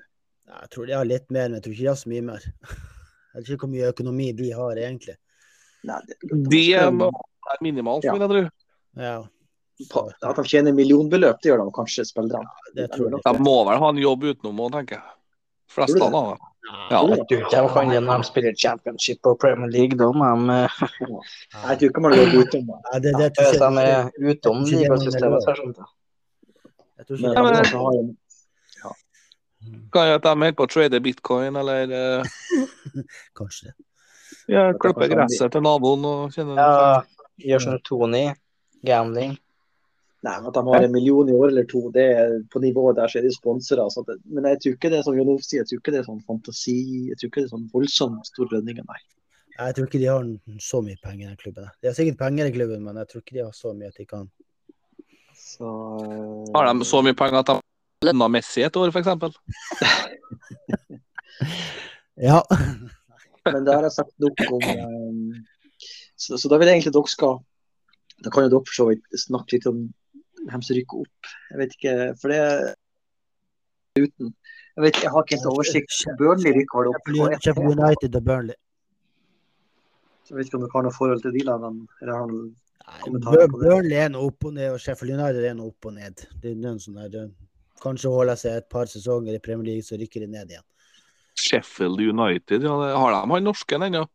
Ja, Jeg tror de har litt mer, men jeg tror ikke de har så mye mer. (laughs) Jeg vet ikke hvor mye økonomi de har, egentlig. Nei, det, Det må være minimalt, Ja. vil jeg tro. Ja, på- At de tjener millionbeløp, det gjør de kanskje, spillerne. det tror jeg. De må vel ha en jobb utenom òg, tenker jeg. Fleste Tror av du dem. Ja. Tror du Jeg tror ikke de kan det når de spiller championship og Premier League. Da må de eh, Jeg tror ikke man løper utenom det. Ja, det, det, tror hvis ikke- de er utom det er ikke det man ligasystemet. så gjør. er det sånn, da. jeg tror Men ikke Ja, men- alle det. som har en- Kan jo at de holder på å trade bitcoin, eller eh, Kanskje det. ja, klippe gresset til naboen og kjenne Ja, gjør sånn 2-9. Gambling. Nei, men At de har en million i år eller to, det er på nivået der så er de sponsorer. Så det, men jeg tror ikke det er som Jonov sier, jeg tror ikke det er sånn fantasi, jeg tror ikke det er sånn voldsomt store lønninger, nei. Jeg tror ikke de har så mye penger i den klubben. De har sikkert penger i klubben, men jeg tror ikke de har så mye at de kan Så, eh, Har de så mye penger at de lønna Messi et år, f.eks.? Ja. Men det har jeg sagt nok om. eh, Så, så da vil jeg egentlig dere skal Da kan jo dere for så vidt snakke litt om hvem som rykker opp. Jeg vet ikke, for det uten Jeg vet ikke, jeg har ikke helt oversikt. Burnley rykker vel opp. og jeg- Sheffield United og Burnley. Jeg vet ikke om dere har noe forhold til de landene. Eller har noen kommentarer Bur- på det? Burnley er noe opp og ned, og Sheffield United er noe opp og ned. Det er noen sånne der, eh, kanskje holder jeg seg et par sesonger i Premier League, så rykker de ned igjen. Sheffield United, ja, det- har de han norsken ennå?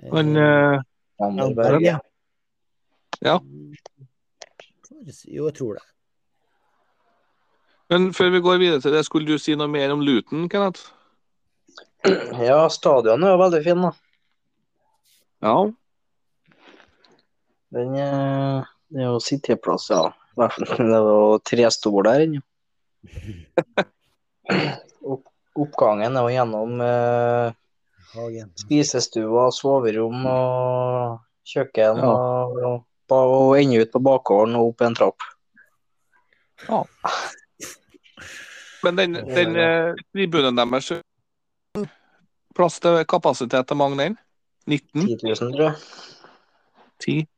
Eh, Han eh, Vandenberg, ja. ja. Jo, jeg tror det. Men før vi går videre til det, skulle du si noe mer om Luton, Kenneth? ja, stadionet er jo veldig fin, da. Ja. Den, eh, det er jo sitteplass, ja. I hvert fall, Det er (laughs) jo tre stol der inne. Opp, oppgangen er jo gjennom eh, Hagen. spisestua, soverom og kjøkken. Ja. Og, og, ba- og ende ut på bakgården og opp en trapp. Men den, den eh, tribunen deres Plass til kapasitet til mange, den? 19? 10 000, tror jeg. 10?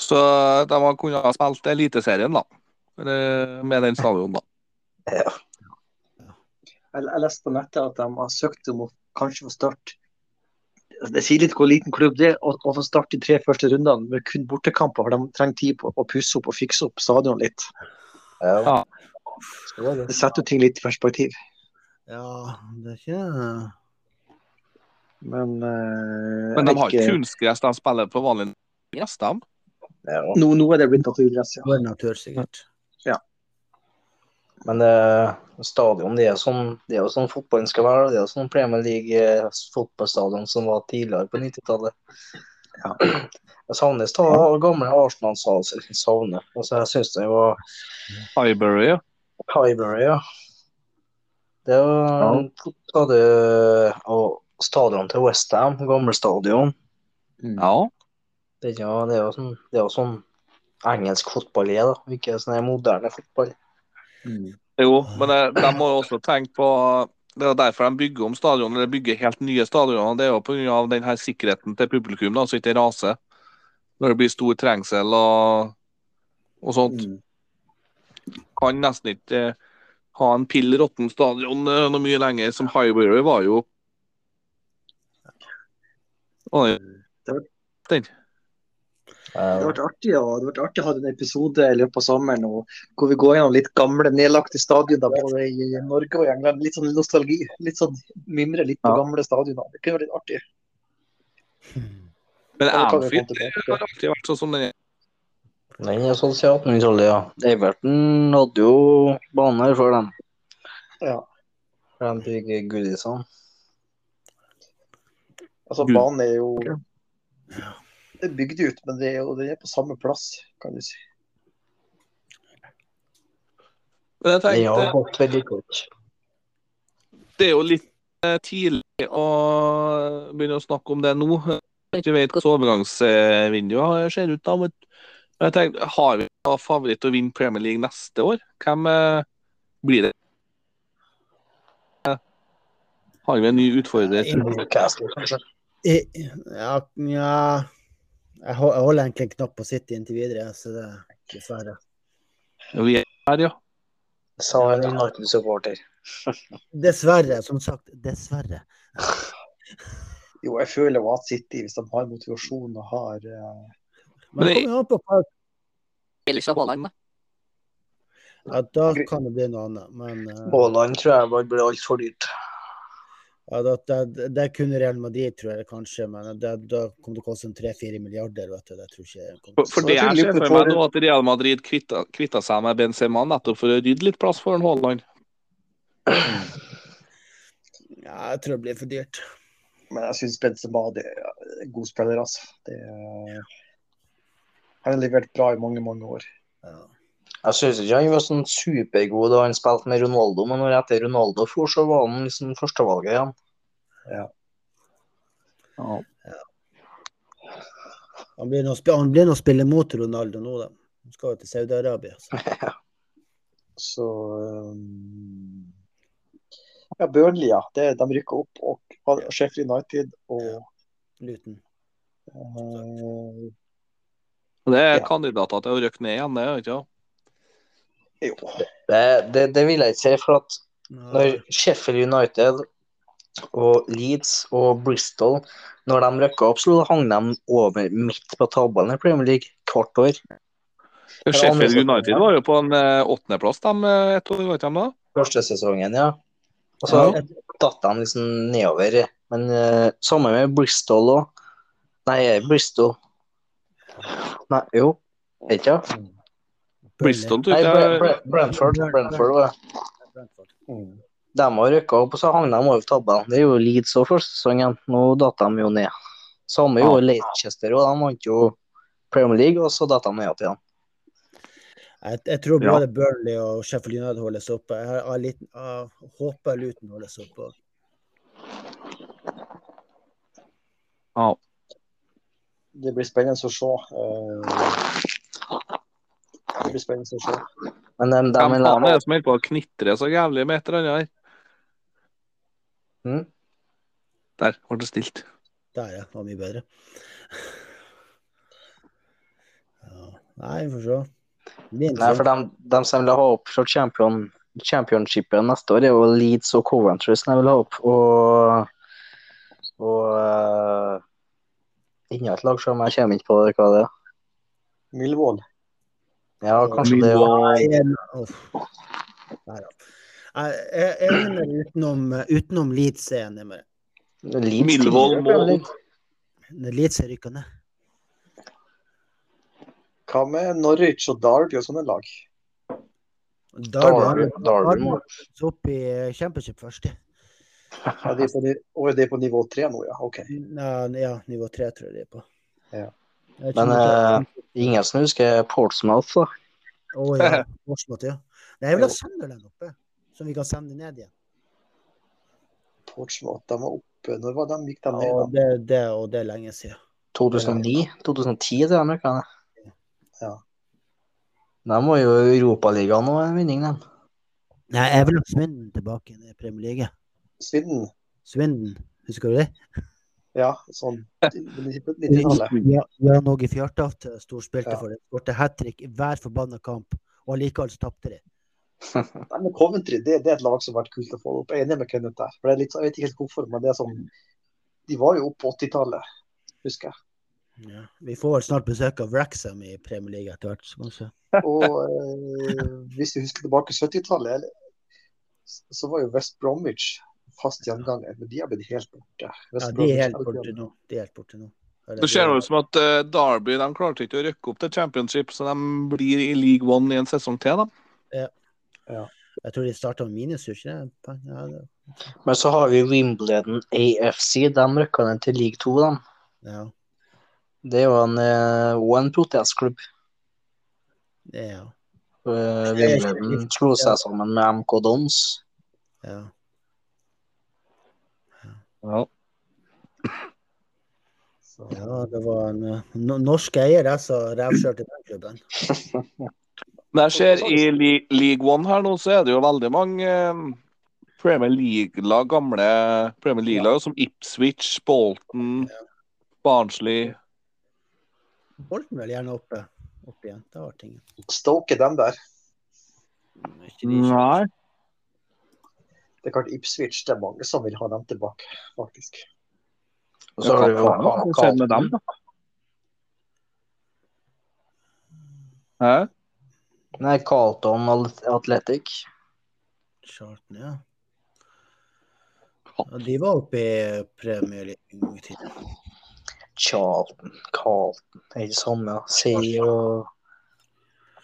Så eh, de har kunnet ha spilt Eliteserien, da. Eller eh, Med den stadion, da. Jeg, jeg leste på nettet at de har søkt om å kanskje få starte Altså, Det sier litt hvor liten klubb det er å, å få starte de tre første rundene med kun bortekamper, for de trenger tid på å pusse opp og fikse opp stadion litt. Ja. Ja. Det var det. Det setter jo ting litt i perspektiv. Ja, det er ikke Men, eh, Men jeg de har vet ikke kunstgress, de spiller på vanlig gress, de. Ja. Nå, nå er det blitt naturgress, ja. Vår natur, sikkert. Men det, stadion, det er, sånn, det er jo sånn fotballen skal være. Det er jo sånn Premier League-fotballstadion som var tidligere på 90-tallet. Ja. (clears throat) Jeg savner stadion, gamle Arsenal-salen. Jeg savner. Altså, jeg syns det var Highbury. ja. Highbury, ja. Det var ja. Og stadion til Westham, gamle stadion. Ja. Det er jo, det er jo, sånn, det er jo sånn engelsk fotball er, da. Ikke sånn her moderne fotball. Jo, men eh, de må jo også tenke på Det er jo derfor de bygger om stadion, eller bygger helt nye stadioner. Det er jo pga. den her sikkerheten til publikum, da, så ikke det raser når det blir stor trengsel og, og sånt. Mm. Kan nesten ikke eh, ha en pill råtten stadion eh, noe mye lenger, som Highbury var jo. Oi, Det har vært artig, å- det har vært artig å ha en episode i løpet av sommeren nå, hvor vi går gjennom litt gamle, nedlagte stadioner både i i Norge og i England. Litt sånn nostalgi. Litt sånn mimre litt på Ja. gamle stadioner. Det kunne vært litt artig. Men Ja, det kan vi komme Anfield tilbake til. har alltid vært sånn som den er. Den er sånn siden 1800-tallet, ja. Everton hadde jo baner før dem. Ja. For de bygger goodiesene. Altså, Gud. banen er jo Det er bygd ut, men det er jo det er på samme plass, kan du si. Men jeg eh, Den tenkte, har gått veldig godt. det er jo litt eh, tidlig å begynne å snakke om det nå. Jeg vet ikke vet hvordan overgangsvinduet ser ut da. Men men jeg tenkte, har vi da favoritt å vinne Premier League neste år? Hvem eh, blir det? Eh, Har vi en ny utfordrer? Newcastle, kanskje. I- Ja, ja. Jeg hol- jeg holder egentlig en knapp på City inntil videre, så det dessverre. Vi er her, ja. Sa en United-supporter. Dessverre, som sagt. Dessverre. Jo, jeg føler jo at City, hvis de har motivasjon og har eh, Men Men det det- kommer jo an på hva- Ellers er Haaland, da. ja, Da kan det bli noe annet. Men eh, Haaland tror jeg bare blir altfor dyrt. ja, da, da, det er kun Real Madrid, tror jeg kanskje. Men det, da kommer det til å koste en 3-4 milliarder. Vet du. Det tror ikke jeg kommer For, til for det jeg ser for meg nå, at Real Madrid kvitta, kvitta seg med Benzema nettopp for å rydde litt plass for en Haaland. å- ja, Jeg tror det blir for dyrt. Men jeg syns Benzema det er en god spiller, altså. Det er, Han har levert bra i mange, mange år. Jeg syns ikke han var sånn supergod da han spilte med Ronaldo, men når etter Ronaldo for, så var han liksom førstevalget igjen. Ja. Han blir nå sp- han blir nå å spille mot Ronaldo nå, da. Han skal jo til Saudi-Arabia. så. Så um, Ja, Burnley, ja. Det, de rykker opp. Og, og Sheffield United og Luton. eh, Det er Ja. kandidater til å røkke ned igjen, det er jo ikke det? jo. Det, det, det vil jeg ikke si, for at når Sheffield United og Leeds og Bristol når de rykka opp, så hang de over midt på tabellen i Premier League hvert år. Ja, det andre Sheffield som- United var jo på en eh, åttendeplass de, eh, et år, var ikke de da? Første sesongen, ja. Og så Ja. datt de liksom nedover. Men eh, samme med Bristol òg. Nei, Bristol Nei, jo. Er ikke det? Bristol, tror Nei, jeg. Bre- Bre- Brentford. Brentford var det. Mm. De har rykka opp, og så hang de over tabellen. Det er jo Leeds òg første sesongen. Nå datt de jo ned. Samme gjorde Leicester, og de vant jo Premier League, og så datt de ned igjen. Jeg, jeg tror Ja. både Burnley og Sheffield United holdes oppe. Jeg, har, jeg, har litt, jeg håper Luton holdes oppe. Ja. Det blir spennende å se. eh, det blir spennende å se. Men de, de, Hvem er faen lei- er det som holder på å knitre så jævlig med et eller annet her? Mm. Der ble det stilt. Der, ja. Var mye bedre. Ja. Nei, vi får se. Det blir Nei, for interessant. de, de som vil ha opp fra champion, championshipen neste år, er jo Leeds og Coventry som jeg vil ha opp. Og, og eh, enda et lag, selv om jeg kommer ikke på hva det er. Millwall. Ja, kanskje det er Jeg er- uff. Nei, da. Jeg jeg er enig med deg utenom, utenom Leeds. er jeg enig med deg. Leeds. Millwall må- Når Leeds er rykka ned. Hva med Norwich og Derby og sånne lag? Darby, Darby må- opp i eh, championship først. ja. Ja, de er på, ni- og de er på nivå tre nå, ja. OK. Nei, ja, nivå tre tror jeg de er på. Ja. Jeg vet ikke Men om det- eh, ingen som husker Portsmouth, da. Å (laughs) ja. Portsmouth, ja. Nei, jeg vil ha Sunderland oppe, som vi kan sende ned igjen. Portsmouth, de var oppe. Når var de gikk de ned? Og da? det, det, og det er lenge siden. 2009? 2010, det er amerikanerne. Ja. De var jo i Europaligaen og en vinning, den. Nei, jeg vil ha Svinden tilbake i Premier League. Swindon? Svinden, husker du det? Ja, sånn (laughs) 90-tallet. Ja, Jan Åge Fjørtoft storspilte Ja. for det. Skårte hat trick i hver forbanna kamp, og allikevel så tapte de. Nei, men Coventry det, det er et lag som har vært kult å få opp. Jeg er enig med Kenneth der. For det er litt, sånn- jeg vet ikke helt hvorfor, men det er sånn De var jo oppe på 80-tallet, husker jeg. Ja. Vi får vel snart besøk av Wrexham i Premier League etter hvert, så kanskje. Og eh, hvis vi husker tilbake 70-tallet, eller- så var jo West Bromwich fast gjenganger. Men de har blitt helt borte. West Ja, de Bromwich er helt er borte nå. De er helt borte nå. Eller, Det ser ut som at eh, Derby de klarte ikke å rykke opp til championship, så de blir i league one i en sesong til. De. Jeg tror de starta med minus, gjorde de ikke det? Ja, det- Men så har vi Wimbledon AFC. De rykka ned til league 2, de. ja. Det er jo en, eh, også en protestklubb. Det er jo- Eh, Wimbledon slo seg sammen med MK Dons. ja. Så, Ja, det var en eh, no norsk eier der som revkjørte den klubben. Men jeg ser i li league one her nå, så er det jo veldig mange eh, Premier League-lag, gamle Premier League-lag, som Ipswich, Bolton, Barnsley Holdt den vel gjerne oppe, oppe igjen. Det var tingen. Stoke er dem der. Nei. Det er klart Ipswich, det er mange som vil ha dem tilbake, faktisk. Og så har vi jo Hva skjedde med dem, da? Hæ? Nei, Carlton Al- Athletic. Charlton, ja. ja. De var oppe i Premier League en gang i tiden. Charlton, Carlton Det er det samme. ja. Sea og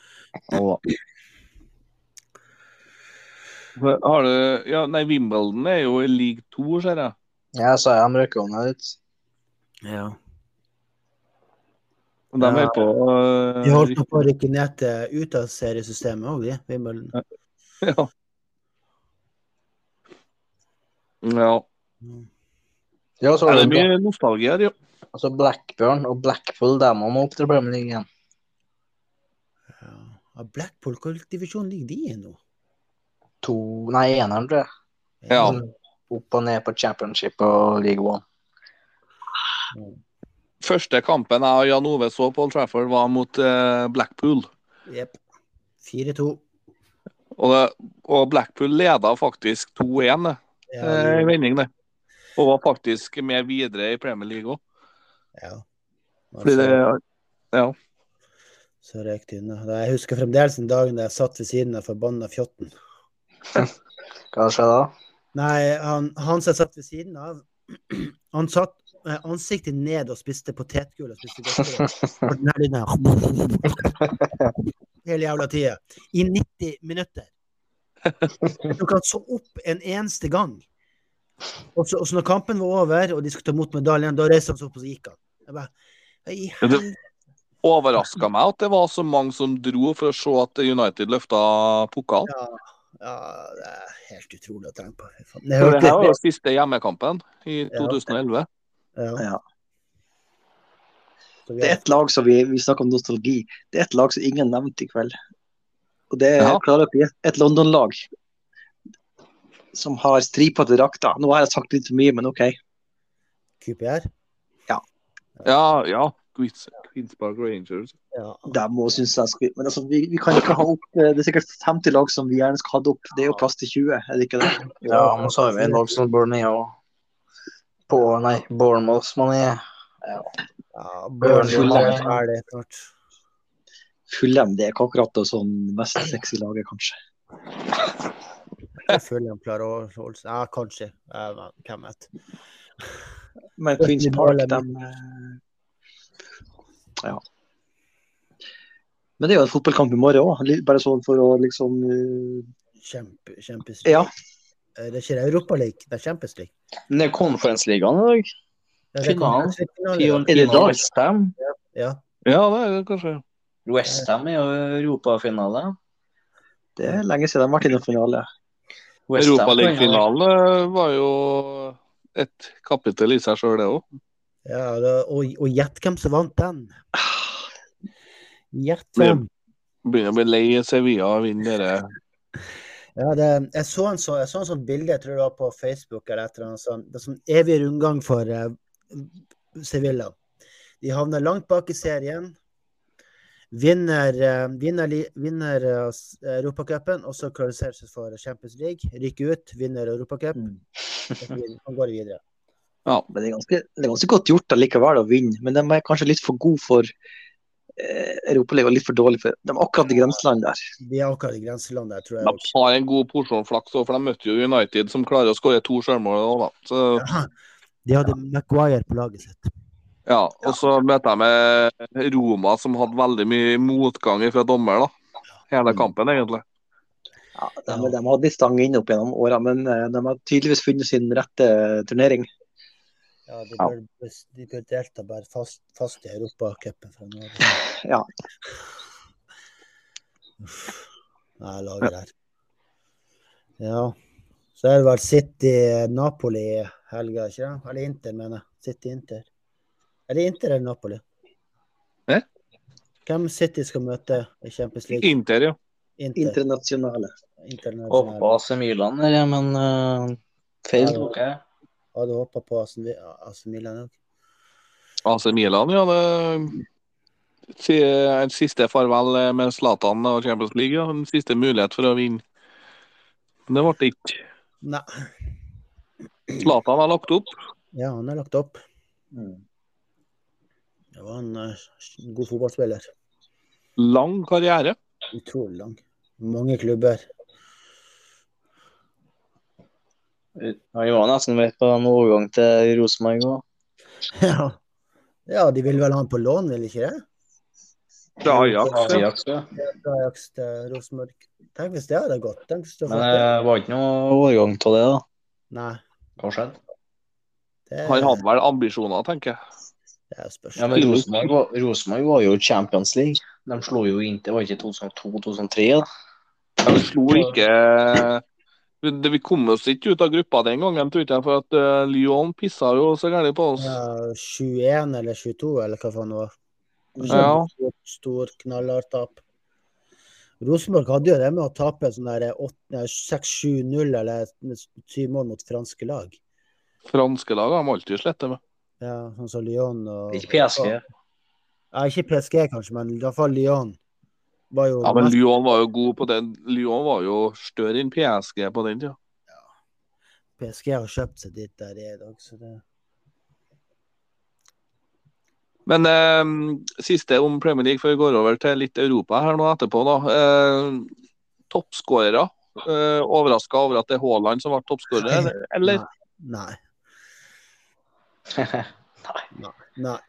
Har du Ja, nei, Wimbledon er jo i league to, ser jeg. Ja, så er de rykka ned litt. Ja. De Ja. er på øh, Vi holdt på å rykke ned til ut av seriesystemet òg, vi. Wimbledon. Ja. ja. Ja, så Er er det det Bla- mye nostalgi her, jo? altså Blackburn og Blackpool, der må man opp til Premier League igjen. Ja. Ja, Blackpool, hvilken divisjon ligger de i nå? To, nei, eneren, tror jeg. Mm. Ja. Opp og ned på championship og league one. Første kampen jeg og Jan Ove så på Old Trafford, var mot eh, Blackpool. Jepp. 4-2. Og, det, og Blackpool leda faktisk 2-1 det, Ja, eh, i de- vending, det. Og var faktisk med videre i Premier League òg. ja. Altså, Fordi det Så røyk de unna. Da- Jeg husker fremdeles den dagen da jeg satt ved siden av forbanna fjotten. Hva skjer da? Nei, han, han som jeg satt ved siden av, (clears throat) han satt med ansiktet ned og spiste potetgull og spiste godteri. Og den her lyden her. Hele jævla tida. I 90 minutter. Jeg tror ikke han så opp en eneste gang. Og så, og så når kampen var over, og de skulle ta imot medaljen, da reiste han seg opp og så gikk han. Jeg bare, «Hei, hel- overraska meg at det var så mange som dro for å se at United løfta pokalen. ja, det er helt utrolig å tenke på. Fy faen. For Jeg Det her hørte- var jo siste hjemmekampen i 2011. Ja. Ja. Så vi Det er har- ett lag som vi, vi snakker om nostalgi. Det er ett lag som ingen nevnte i kveld. Og det er Ja. klarer dere gjette? et London-lag som har stripete drakter. Nå har jeg sagt litt for mye, men OK. QPR. Ja, ja. Queens, Queens Park Rangers. Ja. Det må synes jeg skal... Men altså, vi, vi kan ikke ha opp eh, Det er sikkert 50 lag som vi gjerne skal ha det opp. Det er jo plass til 20, er det ikke det? Ja, men så har vi en lag som Burnley og på, nei, Bournemouth, som han er. Ja, Burnley. Burnley er ferdig snart. Fullem, det er ikke akkurat det sånn mest sexy laget, kanskje. Jeg føler de klarer å holde seg Ja, kanskje. Ja, men Hvem vet. Men Queens Park, dem eh, Ja. Men det er jo en fotballkamp i morgen òg, bare sånn for å liksom eh, Kjempe, Champions Ja. Eh, Det er ikke Europaligaen, det er Champions League. Men det er Conference-ligaen i dag. Det er det Finalen. Conference League-finale, ja. Pion- Er det Pion- dag? Westham. Ja. Ja, det er det kanskje. Westham er jo europafinale. Det er lenge siden de har vært i noen finale. West Ham- Europaligafinalen var jo et kapittel i seg sjøl, det òg. ja da- og og gjett hvem som vant den. Ah. Gjett Det- hvem. Begynner å bli lei Sevilla å vinne dere. Ja, det, jeg, så en så, jeg så en sånn bilde, jeg tror det var på Facebook eller et eller annet sånt. Det er sånn evig rundgang for eh, Sevilla. De havner langt bak i serien. Vinner, eh, vinner, li- vinner eh, s- Europacupen, og så kvalifiserer seg for Champions League. Rykker ut, vinner Europacup. Så går de videre. Men det er ganske, det er ganske godt gjort allikevel å vinne, men de er kanskje litt for gode for eh, Europaligaen og litt for dårlige for De er akkurat i grenseland der. De er akkurat i grenselandet, jeg tror jeg. De også. har en god porsjon flaks òg, for de møtte jo United, som klarer å skåre to sjølmål òg, da. Så, Ja. De hadde Maguire på laget sitt. ja. Og så møter jeg med Roma, som hadde veldig mye motgang fra dommer, da. Mm. Hele kampen, egentlig. Ja, de, de har hatt litt stang inn opp gjennom åra, men eh, de har tydeligvis funnet sin rette eh, turnering. Ja, de Ja. bør, de bør delta bare fast, fast i Europacupen fra nå av. Ja. Uff. Nei, jeg lager her. Ja. Så er det vel City-Napoli i helga, ikke det? Eller Inter, mener jeg. City-Inter. Er det Inter eller Napoli? Hæ? Hvem City skal møte i Champions League? Inter, ja. Inter. Internasjonale. Håper på Internasjonal. AC Milan, er det, men eh, feil Ja. tok jeg. Hadde håpa på Aston Vi- Aston Milan òg. AC Altså, Milan, ja. Det si- en siste farvel eh, med Zlatan og Champions League. Ja. En siste mulighet for å vinne. Men det ble det ikke. Nei. Zlatan har lagt opp. Ja, han er lagt opp. Mm. Det var en eh, god fotballspiller. Lang karriere. Utrolig lang. Mange (laughs) klubber. Han var nesten med på en overgang til Rosenborg òg. Ja. ja, de vil vel ha han på lån, vil de ikke det? Fra Ajax. ja. Fra Ajax til Rosenborg. Tenk hvis det hadde gått. Tenk hvis det Men eh, hadde det fått det. var ikke noe overgang til det, da. Nei. Hva skjedde? Det, Han hadde vel ambisjoner, tenker jeg. Det er spørs. Ja, men Rosenborg var, Rosenborg var jo Champions League. De slo jo Inter, var ikke 2002-2003? da? De slo ikke eh, det, Vi kom oss ikke ut av gruppa den gangen, tror ikke jeg, for at eh, Lyon pissa jo så gærent på oss. Ja, 21 eller 22, eller hva faen det var. Ja. Stor, stor knallhardt tap. Rosenborg hadde jo det med å tape sånn der åtte- nei, 6-7-0 eller 7 mål mot franske lag. Franske lag har de alltid slitt med. Ja, sånn som Lyon og Ikke PSG. Ja, ikke PSG kanskje, men i hvert fall Lyon. Var jo Ja, men mest- Lyon var jo god på den. Lyon var jo større enn PSG på den tida. PSG har kjøpt seg dit der de er i dag, så det Men eh, siste om Premier League før vi går over til litt Europa her nå etterpå, da. Eh, Toppskårere. Eh, Overraska over at det er Haaland som ble toppskårer, eller- eller? Nei. (laughs) Nei. Nei.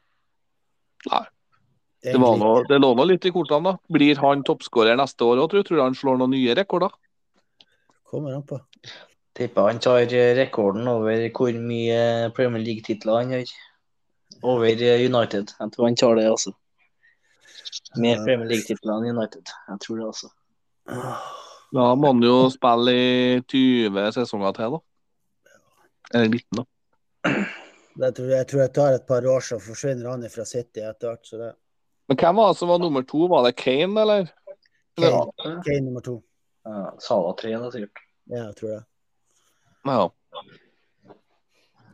Nei. Det, var Egentlig- noe, det lå nå litt i kortene, da. Blir han toppskårer neste år òg, tror du? Tror du han slår noen nye rekorder? Kommer an på. Tipper han tar eh, rekorden over hvor mye Premier League-titler han har. Over eh, United. Jeg tror han tar det, altså. Mer Ja. Premier League-titler enn United. Jeg tror det, altså. Åh, Da må han jo spille i 20 sesonger til, da. Eller 19, da. Det tror jeg, jeg tror jeg tar et par år, så forsvinner han fra City etter hvert. Så det Men hvem var det som var nummer to? Var det Kane, eller? Kane, Kane nummer to. Ja, Sala 3, da, sikkert. Ja, jeg tror det. Ja.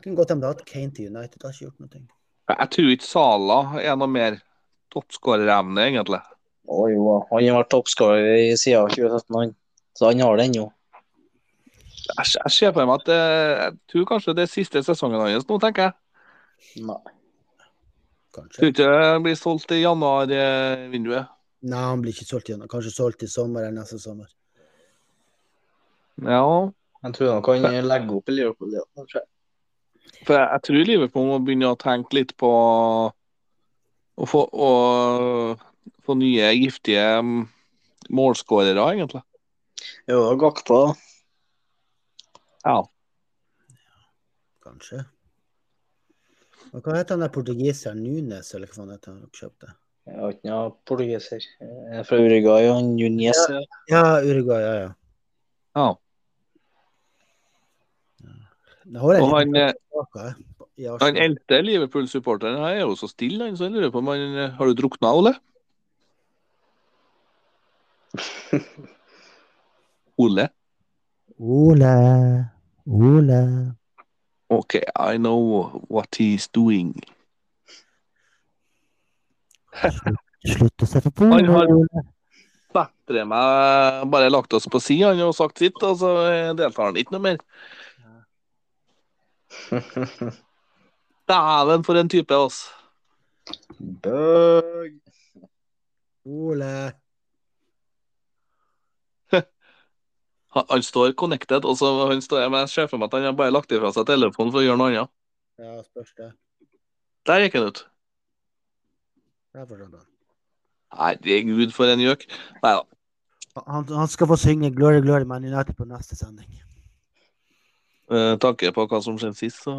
Kunne godt hende hatt Kane til United. Har ikke gjort noe. Jeg tror ikke Sala er noe mer toppskårerevne, egentlig. Å jo, han har vært toppskårer siden 2017, han. Så han har det ennå. Jeg, jeg ser for meg at det, jeg tror kanskje det er siste sesongen hans nå, tenker jeg. Nei. Tror Kanskje. ikke det blir solgt i eh, januarvinduet. Nei, han blir ikke solgt igjen. Kanskje solgt i sommer eller neste sommer. Ja. Jeg tror nok han eh, legger opp i Liverpool. Ja. tror jeg. For jeg, jeg tror Liverpool må begynne å tenke litt på å få, å, få nye, giftige mm, målskårere, egentlig. Jo, det er Gakpo. da. Kanskje. Men hva heter han der portugiseren Nunes, eller hva faen heter han dere kjøpte? Jeg har ikke noen portugiser. Jeg er Fra Uruguay og han Nunes. Ja, Uruguay, ja, ja. Ja. Jeg har en Og han, liten eh, kake, jeg, i Arsenal. han eldste Liverpool-supporteren her er jo så stille, han, så jeg lurer på om han eh, Har du drukna, Ole? Ole? Ole, Ole. Ok, I know what he's doing. Slutt å se på Han har- Ole. Bedre meg bare lagt oss på sida, han har sagt sitt, og så eh, deltar han ikke noe mer. Dæven, for en type, altså. (laughs) Bøg. Ole. Han, han står connected, og så han står, men jeg ser for meg at han har bare lagt ifra seg telefonen for å gjøre noe annet. Ja, spørs det. Der gikk han ut. Jeg forstår det. Herregud, for en gjøk. Nei da. Han, han skal få synge 'Glory Glory Man United' på neste sending. Eh, tanke på hva som skjedde sist, så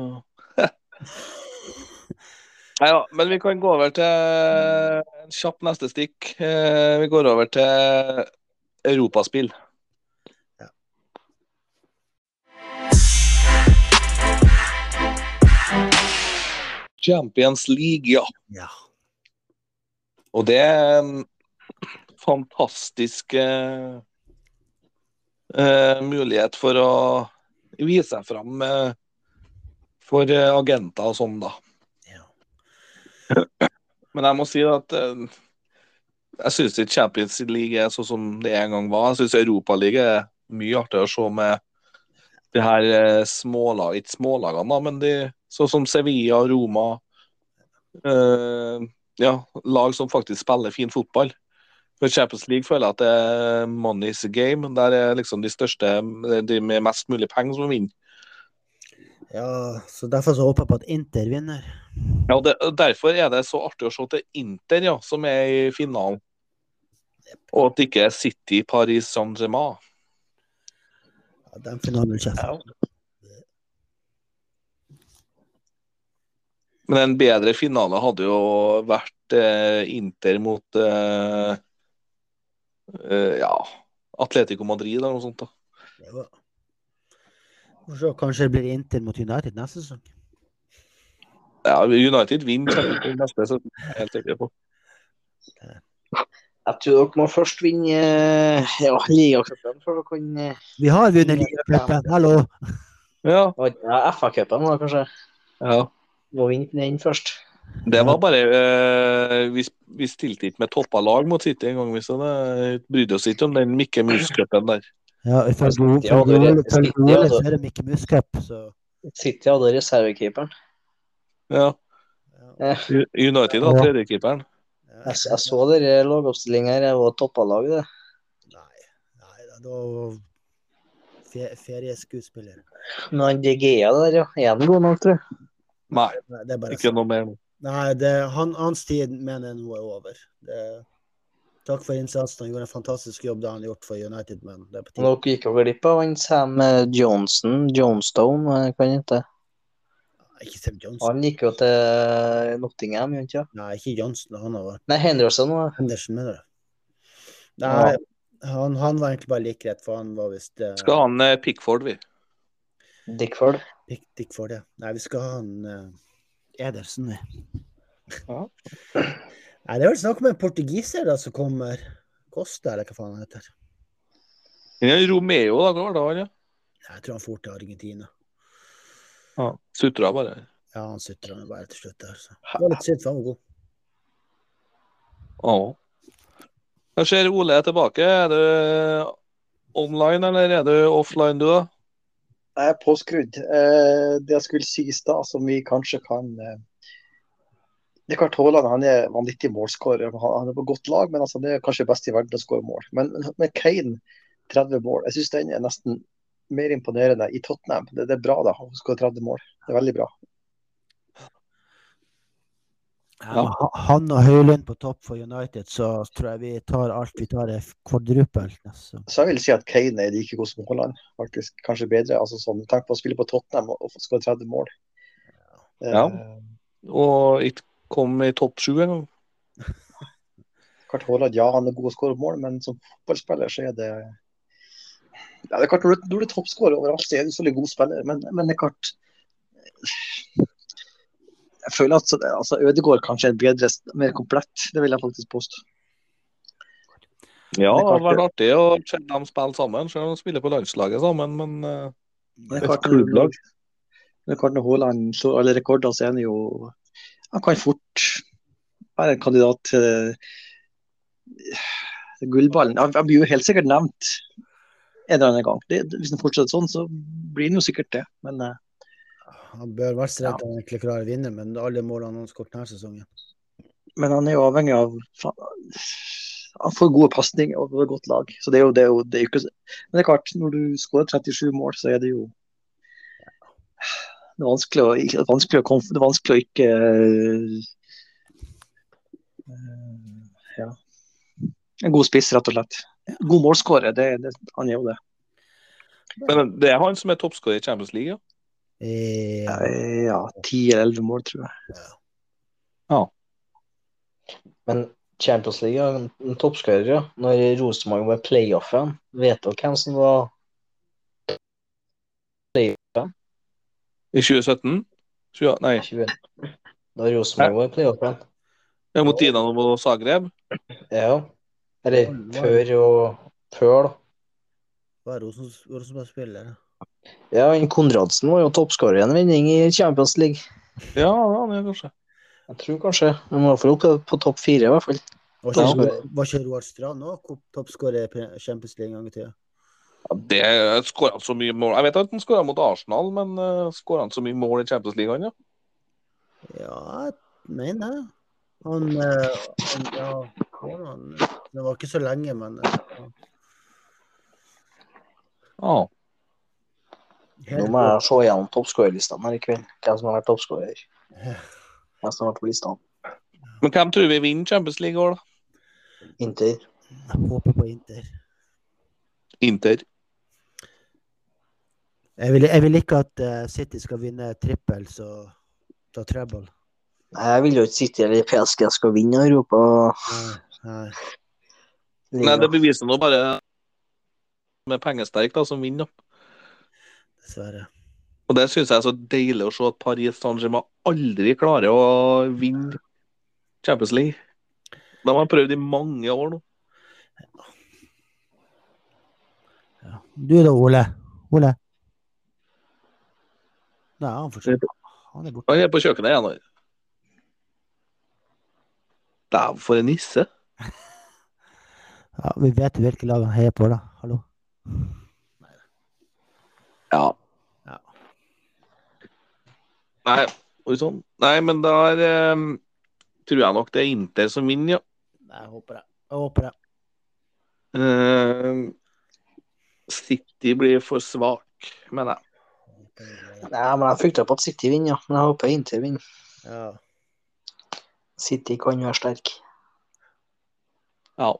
Nei da, men vi kan gå over til en kjapp neste stikk. Eh, Vi går over til europaspill. Champions League, ja. Ja. Og det er en fantastisk eh, eh, mulighet for å vise seg fram eh, for eh, agenter og sånn, da. Ja. Men jeg må si at eh, jeg syns ikke Champions League er sånn som det en gang var. Jeg syns Europaligaen er mye artigere å se med de her eh, smålag, ikke smålagene, da, men de sånn som Sevilla, Roma eh, ja, lag som faktisk spiller fin fotball. For Champions League føler jeg at det er money's game. Der er liksom de største, de med mest mulig penger som vinner. ja, så derfor så håper jeg på at Inter vinner. Ja, og det, og Derfor er det så artig å se til Inter, ja, som er i finalen. Og at det ikke er City, Paris, Saint-Germain. Ja, den finalen vil ikke jeg se. Men en bedre finale hadde jo vært eh, Inter mot eh, eh, ja, Atletico Madrid eller noe sånt. da. Jo da. Får se, Kanskje det blir Inter mot United neste sesong. Ja, United vinner Champions League neste, så er jeg helt sikker på. Jeg tror dere må først vinne eh, ja, ligacupen før dere kan eh, Vi har vunnet ligacupen, hallo! Ja, Ja, FA-cupen da, kanskje. ja. Må vinne den først. Det var bare eh, vi, vi stilte ikke med toppa lag mot City en gang. Vi så det. brydde oss ikke om den Mikke Mus-cupen der. Ja, City ifølge Ole hadde- ifølge Ole- ifølge City Ole hadde- så er det Mikke Muscup, så City hadde reservekeeperen. Ja. Ja. U- United har Ja. tredjekeeperen. Jeg, s- jeg så dere lagoppstillinga her, jeg var toppa lag, det. Nei, nei da, da fe, Ferieskuespiller. Men han DGA der, ja. Er han god nok, tror jeg? Nei, Nei, det er bare ikke noe mer. nå. Nei, det, han, hans tid mener jeg nå er over. Det, takk for innsatsen. Han gjorde en fantastisk jobb da han har gjort for United, men det er på tide. Dere gikk jo glipp av han Sam eh, Johnson, Johnstone, eh, hva han heter. Ikke Sam Johnson. Han gikk jo til eh, Nottingham, gjorde han ikke? Nei, ikke Johnson. Han har vært Nei, Henderson var Henderson, mener du? Nei, han, han var egentlig bare like rett, for han var visst eh, Skal han eh, Pickford, vi. Dickford. viktig for det. Nei, vi skal ha han eh, Edersen, vi. Ja. Nei, det er vel snakk om en portugiser da, som kommer. Costa, eller hva faen han heter. Men Romeo, da, hva var det han, ja? Jeg tror han for til Argentina. ja. Sutra bare. Ja, han sutra bare til slutt der. Så. Det var litt synd, for han var god. Ja. Jeg ser Ole er tilbake. Er du online, eller er du offline, du, da? Jeg er påskrudd. Eh, Det jeg skulle si i stad, som vi kanskje kan eh, Det er klart Haaland han er vanvittig målskårer. Han han er på godt lag, men altså, det er kanskje best i verden å skåre mål. Men, men Kane, 30 mål, jeg syns den er nesten mer imponerende i Tottenham. Det, det er bra da, å skåre 30 mål. Det er veldig bra. Ja. men ha- Han og Høylund på topp for United, så tror jeg vi tar alt vi tar, er kvadrupelt. Altså. Så jeg vil si at Kane er like god som Haaland, faktisk. Kanskje bedre. altså sånn, Tenk på å spille på Tottenham og, og skåre 30 mål. Eh, Ja. Og ikke kom i topp sju engang. klart Haaland, ja, han er god til å skåre mål, men som fotballspiller så er det ja, det er klart, Når du, når du er toppskårer overalt, så er du så veldig god spiller, men, men det er klart Jeg føler at så det- altså, Ødegaard kanskje er bedre, mer komplett. Det vil jeg faktisk påstå. Ja, Det det er hadde klart vært artig å se dem spille sammen. Selv om de spiller på landslaget sammen, men eh, Men Et det er klart, når- klubblag. det er klart Når Haaland slår alle rekorder, så er han jo Han kan fort være en kandidat til til gullballen. Han han blir jo helt sikkert nevnt en eller annen gang. Det, det- hvis han fortsetter sånn, så blir han jo sikkert det. Men eh, Han bør være så redd at han egentlig klarer å vinne, men alle målene han har skåret denne sesongen Men han er jo avhengig av Han får gode pasninger og et godt lag. Så det er jo, det er jo, det er jo ikke, men det er klart, når du skårer 37 mål, så er det jo Det er vanskelig å, ikke- det er vanskelig å, konf- det er vanskelig å ikke eh, Ja. En god spiss, rett og slett. God målskårer, det, det, han er jo det. Men det er han som er toppskårer i Champions League, ja. Eh, Eh, Ja, ti eller elleve mål, tror jeg. Men Champions League er en- en toppskårer, ja. Når Rosenborg var i playoffen, vet dere hvem som var I 2017? Tjue- nei, 20? Når Rosenborg var i playoffen? ja, eh, mot Dinamo og Zagreb? Ja. Eller før og før, da. Var Rosens- Rosenborg spiller? Ja, men Konradsen var jo toppskårer i en vending i Champions League. Ja, ja, det er kanskje. Jeg tror kanskje. Han var i hvert fall oppe på topp fire, i hvert fall. Var ikke, Ja. var ikke Roar Strand òg toppskårer i Pre- Champions League en gang i tida? Ja, det skåra han så mye mål Jeg vet at han skåra mot Arsenal, men uh, skåra han så mye mål i Champions League, han, ja? Ja, jeg mener det. Han, eh, han Ja, han, det var ikke så lenge, men eh, Ja. Nå må jeg se gjennom toppskårerlistene her i kveld. Hvem som har vært toppskårer. Hvem som har vært på listene. Men hvem tror vi vinner Champions League i år, da? Inter. (laughs) Jeg håper på Inter. Inter. Jeg vil, jeg vil ikke at eh, City skal vinne trippel, så ta treble. Jeg vil jo ikke sitte her i PSG skal vinne Europa. Nei. Nei, det beviser nå bare med pengesterk da, som vinner. Dessverre. Og det syns jeg er så deilig å se at Paris Saint-Germain aldri klarer å vinne Champions League. De har prøvd i mange år nå. Du da, Ole? Ole? Nei, han fortsatt. Han er borte. Han er på kjøkkenet igjen. han. Dæven, for en nisse. Ja, vi vet jo hvilke lag han heier på, da. Hallo? Ja. Ja. Nei, oi sann. Nei, men der eh, tror jeg nok det er Inter som vinner, ja. Nei, jeg håper det. Jeg håper det. Eh, City blir for svak, mener jeg. Jeg håper det. Nei, men Jeg frykter på at City vinner, ja. men jeg håper Inter vinner. Ja. City kan være sterk. Ja.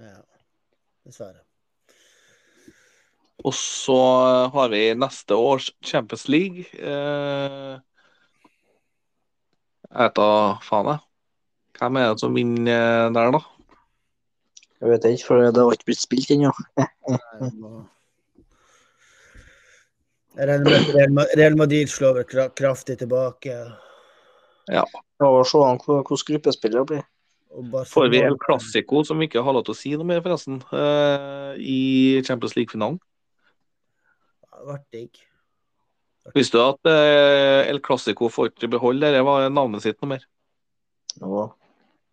ja. Dessverre. Og så har vi neste års Champions League. Eh, jeg vet da faen, jeg. Hvem er det som vinner der, da? Jeg vet ikke, for det har ikke blitt spilt ennå. Jeg må- Jeg regner med at Real Ma- Real Madrid slår vel kra- kraftig tilbake. Og se an hvor- hvordan gruppespillere blir. Og Får vi Barcelona- El Clásico, som vi ikke har lov til å si noe mer, forresten, eh, i Champions League-finalen? Det ble digg. Visste du at eh, El Clásico får ikke beholde det? Det var navnet sitt noe mer. Og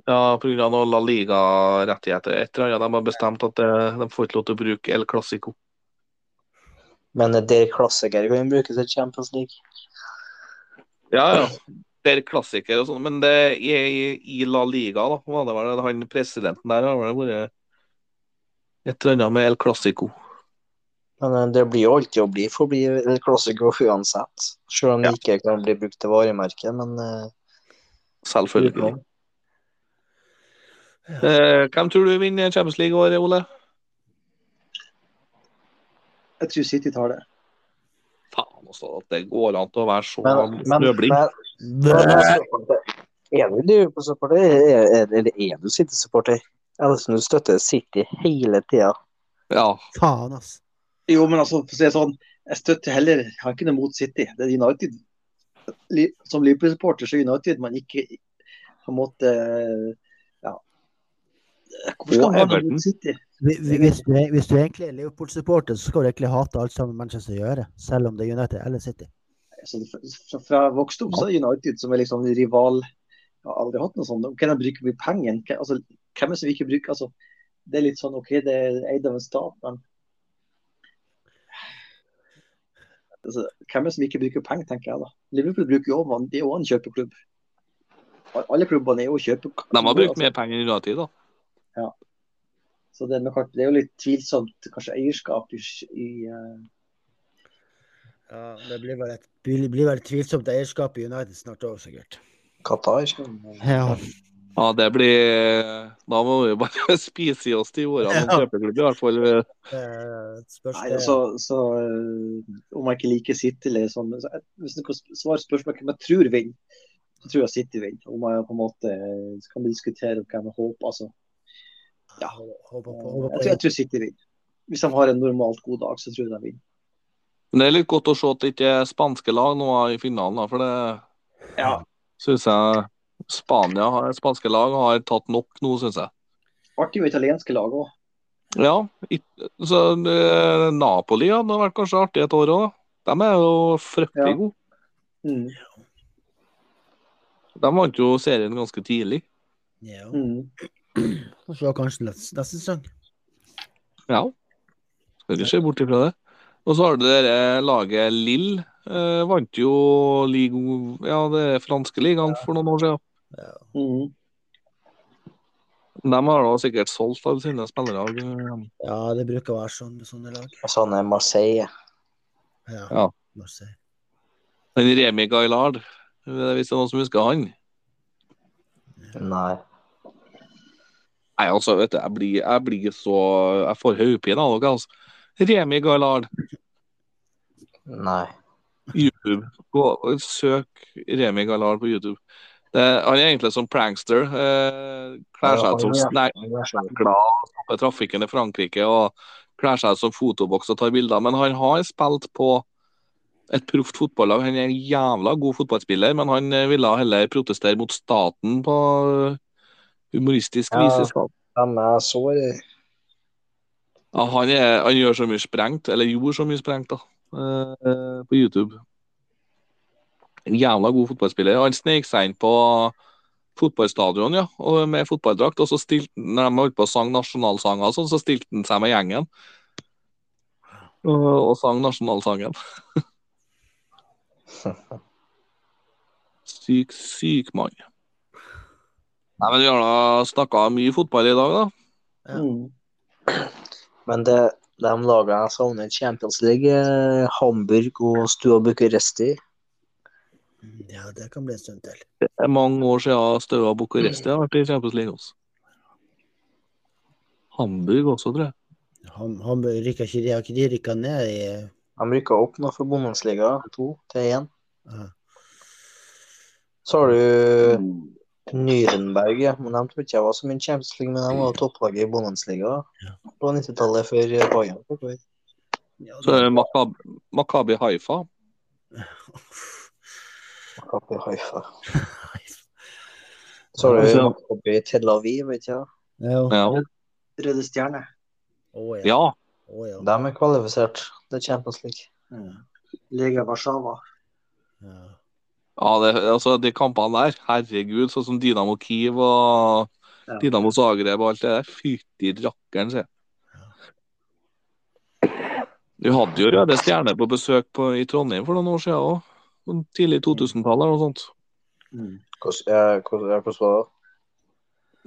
Ja, pga. noe La Liga-rettigheter. Et eller annet. De har bestemt at eh, de får ikke lov til å bruke El Clásico. Men der klassiker kan brukes til Champions League. Ja, ja. Det er klassiker og sånn, men det er i, i La Liga, da. Var det vel han presidenten der har vel vært et eller annet med El Clásico. Men eh, det blir jo alltid å bli forbi El Clásico uansett. Selv om det ikke kan bli brukt til varemerke, men eh, Selvfølgelig. utenom. Eh, hvem tror du vinner Champions League i år, Ole? Jeg tror City tar det. Faen også, at det går an til å være så Men, men, snøblind. men er du Liverpool-supporter, er- er- eller er du City-supporter? Eller som du støtter City hele tida? Ja. Faen, ass. Jo, men altså, for å si det sånn, jeg støtter heller jeg har ikke noe mot City. Det er United. Li- Som Liverpool-supporter så er United man ikke på en måte Ja. Hvorfor skal Og man ha noe Everton. mot City? Hvi- hvi- Hvis du, er- hvis du egentlig er Liverpool-supporter, så skal du egentlig hate alt sammen Manchester gjør, selv om det er United eller City. Altså, fra, fra jeg vokste opp så er United som er liksom rival Jeg har aldri hatt noe sånt. Hvem er det som bruker mye penger? Hvem- Altså, hvem er det som ikke bruker altså, Det er litt sånn OK, det er eid av en stat, men altså, Hvem er det som ikke bruker penger, tenker jeg da. Liverpool bruker jo også, de er jo en kjøpeklubb. Alle klubbene er jo kjøpeklubber. De har brukt mer penger i United, da. Så det er, nok, det er jo litt tvilsomt kanskje eierskap i, i eh, Ja, det blir vel et blir, blir vel et tvilsomt eierskap i United snart òg, sikkert. Qatar? sånn, eh, Ja. Ja, det blir Da må vi bare (laughs) spise i oss de ordene om Ja. kjøpeklubb, i hvert fall. Eh, Spørs Nei, det. altså, så øh, Om jeg ikke liker City eller sånn men så, jeg- Hvis du kan svare spørsmålet hvem jeg tror vinner, så tror jeg City vinner. Om jeg på en måte øh, Så kan vi diskutere hvem jeg håper. Altså. Ja, håper på, håper på Jeg, tror, jeg tror City vinner. Hvis de har en normalt god dag, så tror jeg de vinner. Men det er litt godt å se at det ikke er spanske lag nå i finalen, da, for det Ja. syns jeg Spania, har- spanske lag har tatt nok nå, syns jeg. Artig med italienske lag òg. Ja, i- så eh, Napoli hadde vært kanskje artig et år òg. De er jo fryktelig Ja. gode. Mm. De vant jo serien ganske tidlig. Ja. Mm. Får se kanskje neste, neste sesong. Ja. Skal ikke se bort ifra det. Og så har du det der eh, laget Lill. Eh, vant jo ligo, ja, det franske ligaen for noen år siden. Mm. De har da sikkert solgt alle sine spillere. eh, Ja, det bruker å være sånn med sånne lag. Sånn er Marseille. Ja. Ja. må si. Den Remi Gailard, eh, hvis det er noen som husker han. Nei. Nei, altså, vet du, jeg blir, jeg blir så Jeg får hodepine av dere, altså. Remi Gailard. Nei. YouTube. Gå, søk Remi Galar på YouTube. Det, han er egentlig som prankster. Eh, klær seg ut som sånn snegleglad, stopper trafikken i Frankrike og klær seg ut som fotoboks og tar bilder. Men han har spilt på et proft fotballag. Han er en jævla god fotballspiller, men han eh, ville heller protestere mot staten på eh, humoristisk Ja. vis. Stemmer, jeg så det. Ja, han, er, han gjør så mye sprengt, eller gjorde så mye sprengt, da, eh, på YouTube. En jævla god fotballspiller. Han snek seg inn på fotballstadion ja, og med fotballdrakt, og så stilte han, når de holdt på å sang nasjonalsanger, og sånn, så stilte han seg med gjengen og, og sang nasjonalsangen. (laughs) syk, syk mann. Nei, men Vi har da snakka mye fotball i dag, da. Ja. Mm. Men det, de lagene jeg savner i Champions League, er Hamburg og Stua Bucuresti. Mm, Ja, det kan bli en stund til. Det er mange år siden Staua Bucuresti har vært i Champions League også. Hamburg også, tror jeg. Ham, Hamburg rykker ikke, de har ikke de rykka ned i De rykka opp nå for Bundesliga, to til én. Ja. Så har du Nürnberg, ja. Men de tror ikke jeg var så mye Champions League, men de var topplaget i Bundesliga på 90-tallet for Bayern. fikk vi. Ja, Så er da- det Makab Makabi Haifa. Maccabi Haifa. Så har du Maccabi Tel Aviv, vet ikke jeg. Ja. Ja. Røde Stjerne. Å, ja. ja. Å, ja. De er kvalifisert til Champions League. Lega Warszawa. Ja. ja det, altså, de kampene der, herregud, sånn som Dynamo Kiev og Ja. Dynamo Zagreb og alt det der. Fytti rakkeren, sier jeg. Du hadde jo Røde Stjerne på besøk på, i Trondheim for noen år siden òg. Tidlig 2000-tallet eller noe sånt. Mm. Hvordan eh, hvordan- ja, hvordan var det?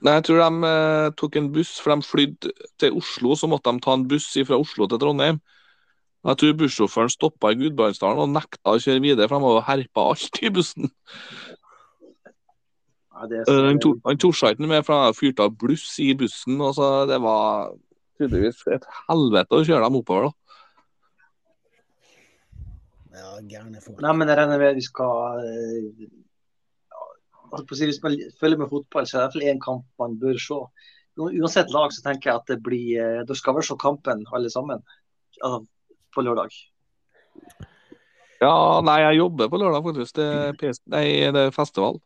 Nei, jeg tror de eh, tok en buss, for de flydde til Oslo, så måtte de ta en buss fra Oslo til Trondheim. Jeg tror bussjåføren stoppa i Gudbrandsdalen og nekta å kjøre videre, for de hadde herpa alt i (laughs) bussen. Ja, det Eh, Han tok han tok seg ikke med, for han hadde fyrt av bluss i bussen. Og så det var tydeligvis et helvete å kjøre dem oppover, da. ja, gærne folk. Nei, men jeg regner med vi skal eh, ja, holdt på å si, Hvis man følger med fotball, så er det i hvert fall én kamp man bør se. U- Uansett lag så tenker jeg at det blir eh, Dere skal vel se kampen, alle sammen, altså, på lørdag. Ja, nei, jeg jobber på lørdag, faktisk. Det er, PS nei, det er festival.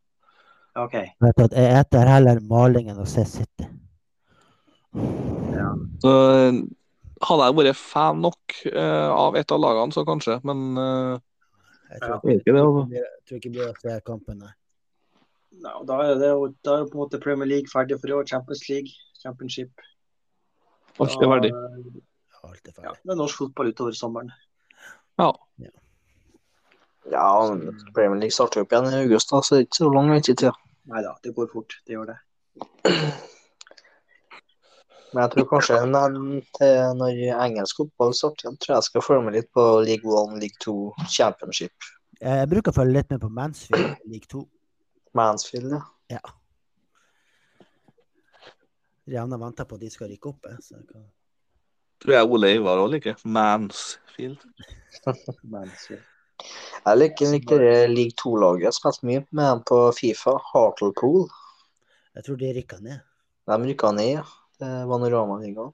Ja, OK. Vet du at jeg eter heller maling enn å se City. Så eh, hadde jeg vært fan nok eh, av et av lagene, så kanskje, men eh, Jeg tror det er ikke det, altså. Jeg tror ikke det blir å se kampen, nei. Nei, og da er det jo da er jo på en måte Premier League ferdig for i år. Champions League, championship. Alt er verdig. Alt er Ja, ferdig. det er norsk fotball utover sommeren. Ja, men Premier League starter jo opp igjen i august, da, så det er ikke så lang ventetid. Nei da, det går fort. Det gjør det. Men jeg tror kanskje når, til- når engelsk fotball starter igjen, tror jeg jeg skal følge med litt på league one, league two, championship, Jeg jeg bruker å følge litt med på Mansfield, lik to. Mansfield. ja. Ja. Rihanna venter på at de skal rykke opp. jeg, Så jeg kan... tror jeg Ole Ivar òg liker. Mansfield. Men, så- Jeg liker likte det league two-laget. Jeg spilte mye med dem på Fifa, Hartlepool. Jeg tror de rykka ned. De rykka ned. Det var Norama-ligaen.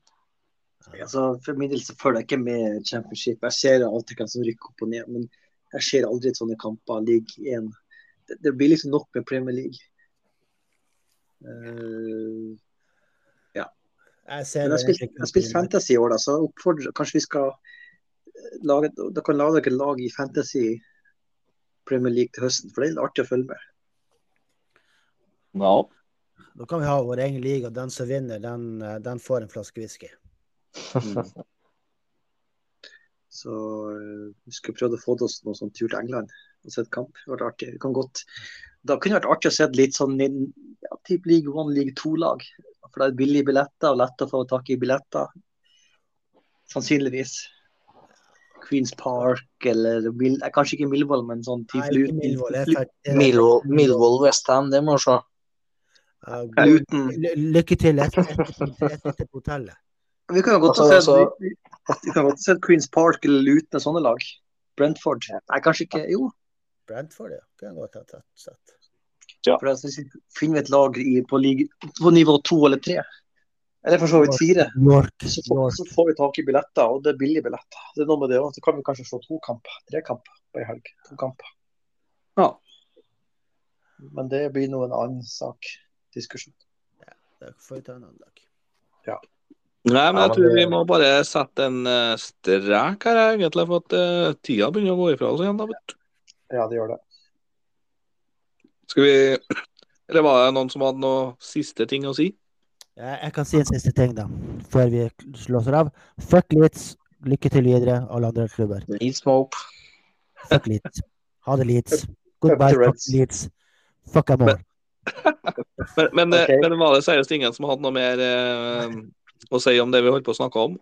altså, for min del så følger jeg ikke med championship. Jeg ser alltid hvem som rykker opp og ned, men jeg ser aldri sånne kamper. League 1. Det, det blir liksom nok med Premier League. Eh, Jeg ser men jeg har spilt, jeg har spilt Fantasy i år, da, så jeg oppfordrer Kanskje vi skal eh, lage, dere kan lage dere lag i Fantasy Premier League til høsten, for det er litt artig å følge med. Ja. Da kan vi ha vår egen liga, og den som vinner, den, eh, den får en flaske whisky. Så eh, vi skulle prøvd å få til oss noen sånn tur til England og sett kamp. Det hadde vært artig. Vi kan godt. Da kunne det vært artig å se litt sånn inn, ja, typ League One, League Two-lag. For det er billige billetter og lett å få tak i billetter. Sannsynligvis. Queens Park eller Mil eh, Kanskje ikke Millwall, men sånn Nei, type ikke uten, Milvold. det er fly- fælt. Det er- Millwall, Millwall Westham, det må vi se. Ja, uten ly- Lykke til etter, etter, etter på hotellet. Vi kan jo godt Altså, ha sett altså- vi- vi kan godt ha sett Queens Park eller Luton og sånne lag. Brentford. Nei, kanskje ikke. Jo, Brentford, ja. Kan godt ha tatt sett. for at hvis vi finner et lag i, på, lig- på nivå to eller tre, eller for så vidt fire, York. så får, York. så får vi tak i billetter, og det er billige billetter. Det er noe med det også. Så kan vi kanskje slå to kamper, tre kamper på ei helg. To kamper. Ja. Men det blir nå en annen sak. Diskusjon. Da får vi ta en annen dag. Nei, men Ja, jeg men tror det- vi må bare sette en eh, strek her, egentlig, for at eh, tida begynner å gå ifra oss igjen. da, vet du. Ja, det gjør det. Skal vi (clears throat) Eller var det noen som hadde noe siste ting å si? Ja, Jeg kan si en siste ting, da, før vi slåser av. Fuck Leeds. Lykke til videre, alle andre klubber. Leeds må opp. Fuck Leeds. Ha det, Leeds. Goodbye, fuck Reds. Leeds. Fuck them all. Men, men, eh, Ok. men var det seriøst ingen som hadde noe mer eh, å si om det vi holdt på å snakke om?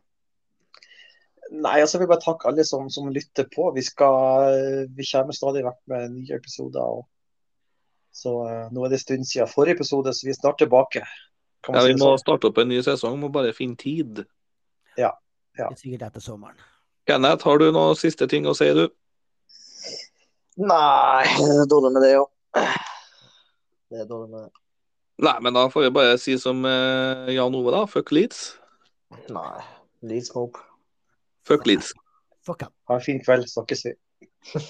Nei, altså, jeg vil bare takke alle som, som lytter på. Vi, skal, vi kommer stadig vekk med nye episoder. Og, så eh, nå er det en stund siden forrige episode, så vi er snart tilbake. Kan man Ja, si Vi det må sånn? starte opp en ny sesong, må bare finne tid. Ja. Det er Sikkert etter sommeren. Kenneth, har du noen siste ting å si, du? Nei, det er dårlig med det òg. Det er dårlig med det. Nei, men da får vi bare si som eh, Jan Ove, da. Fuck Leeds. Nei. Leeds må opp. Fuck Leeds. Fuck 'em. Ha en fin kveld, snakkes vi.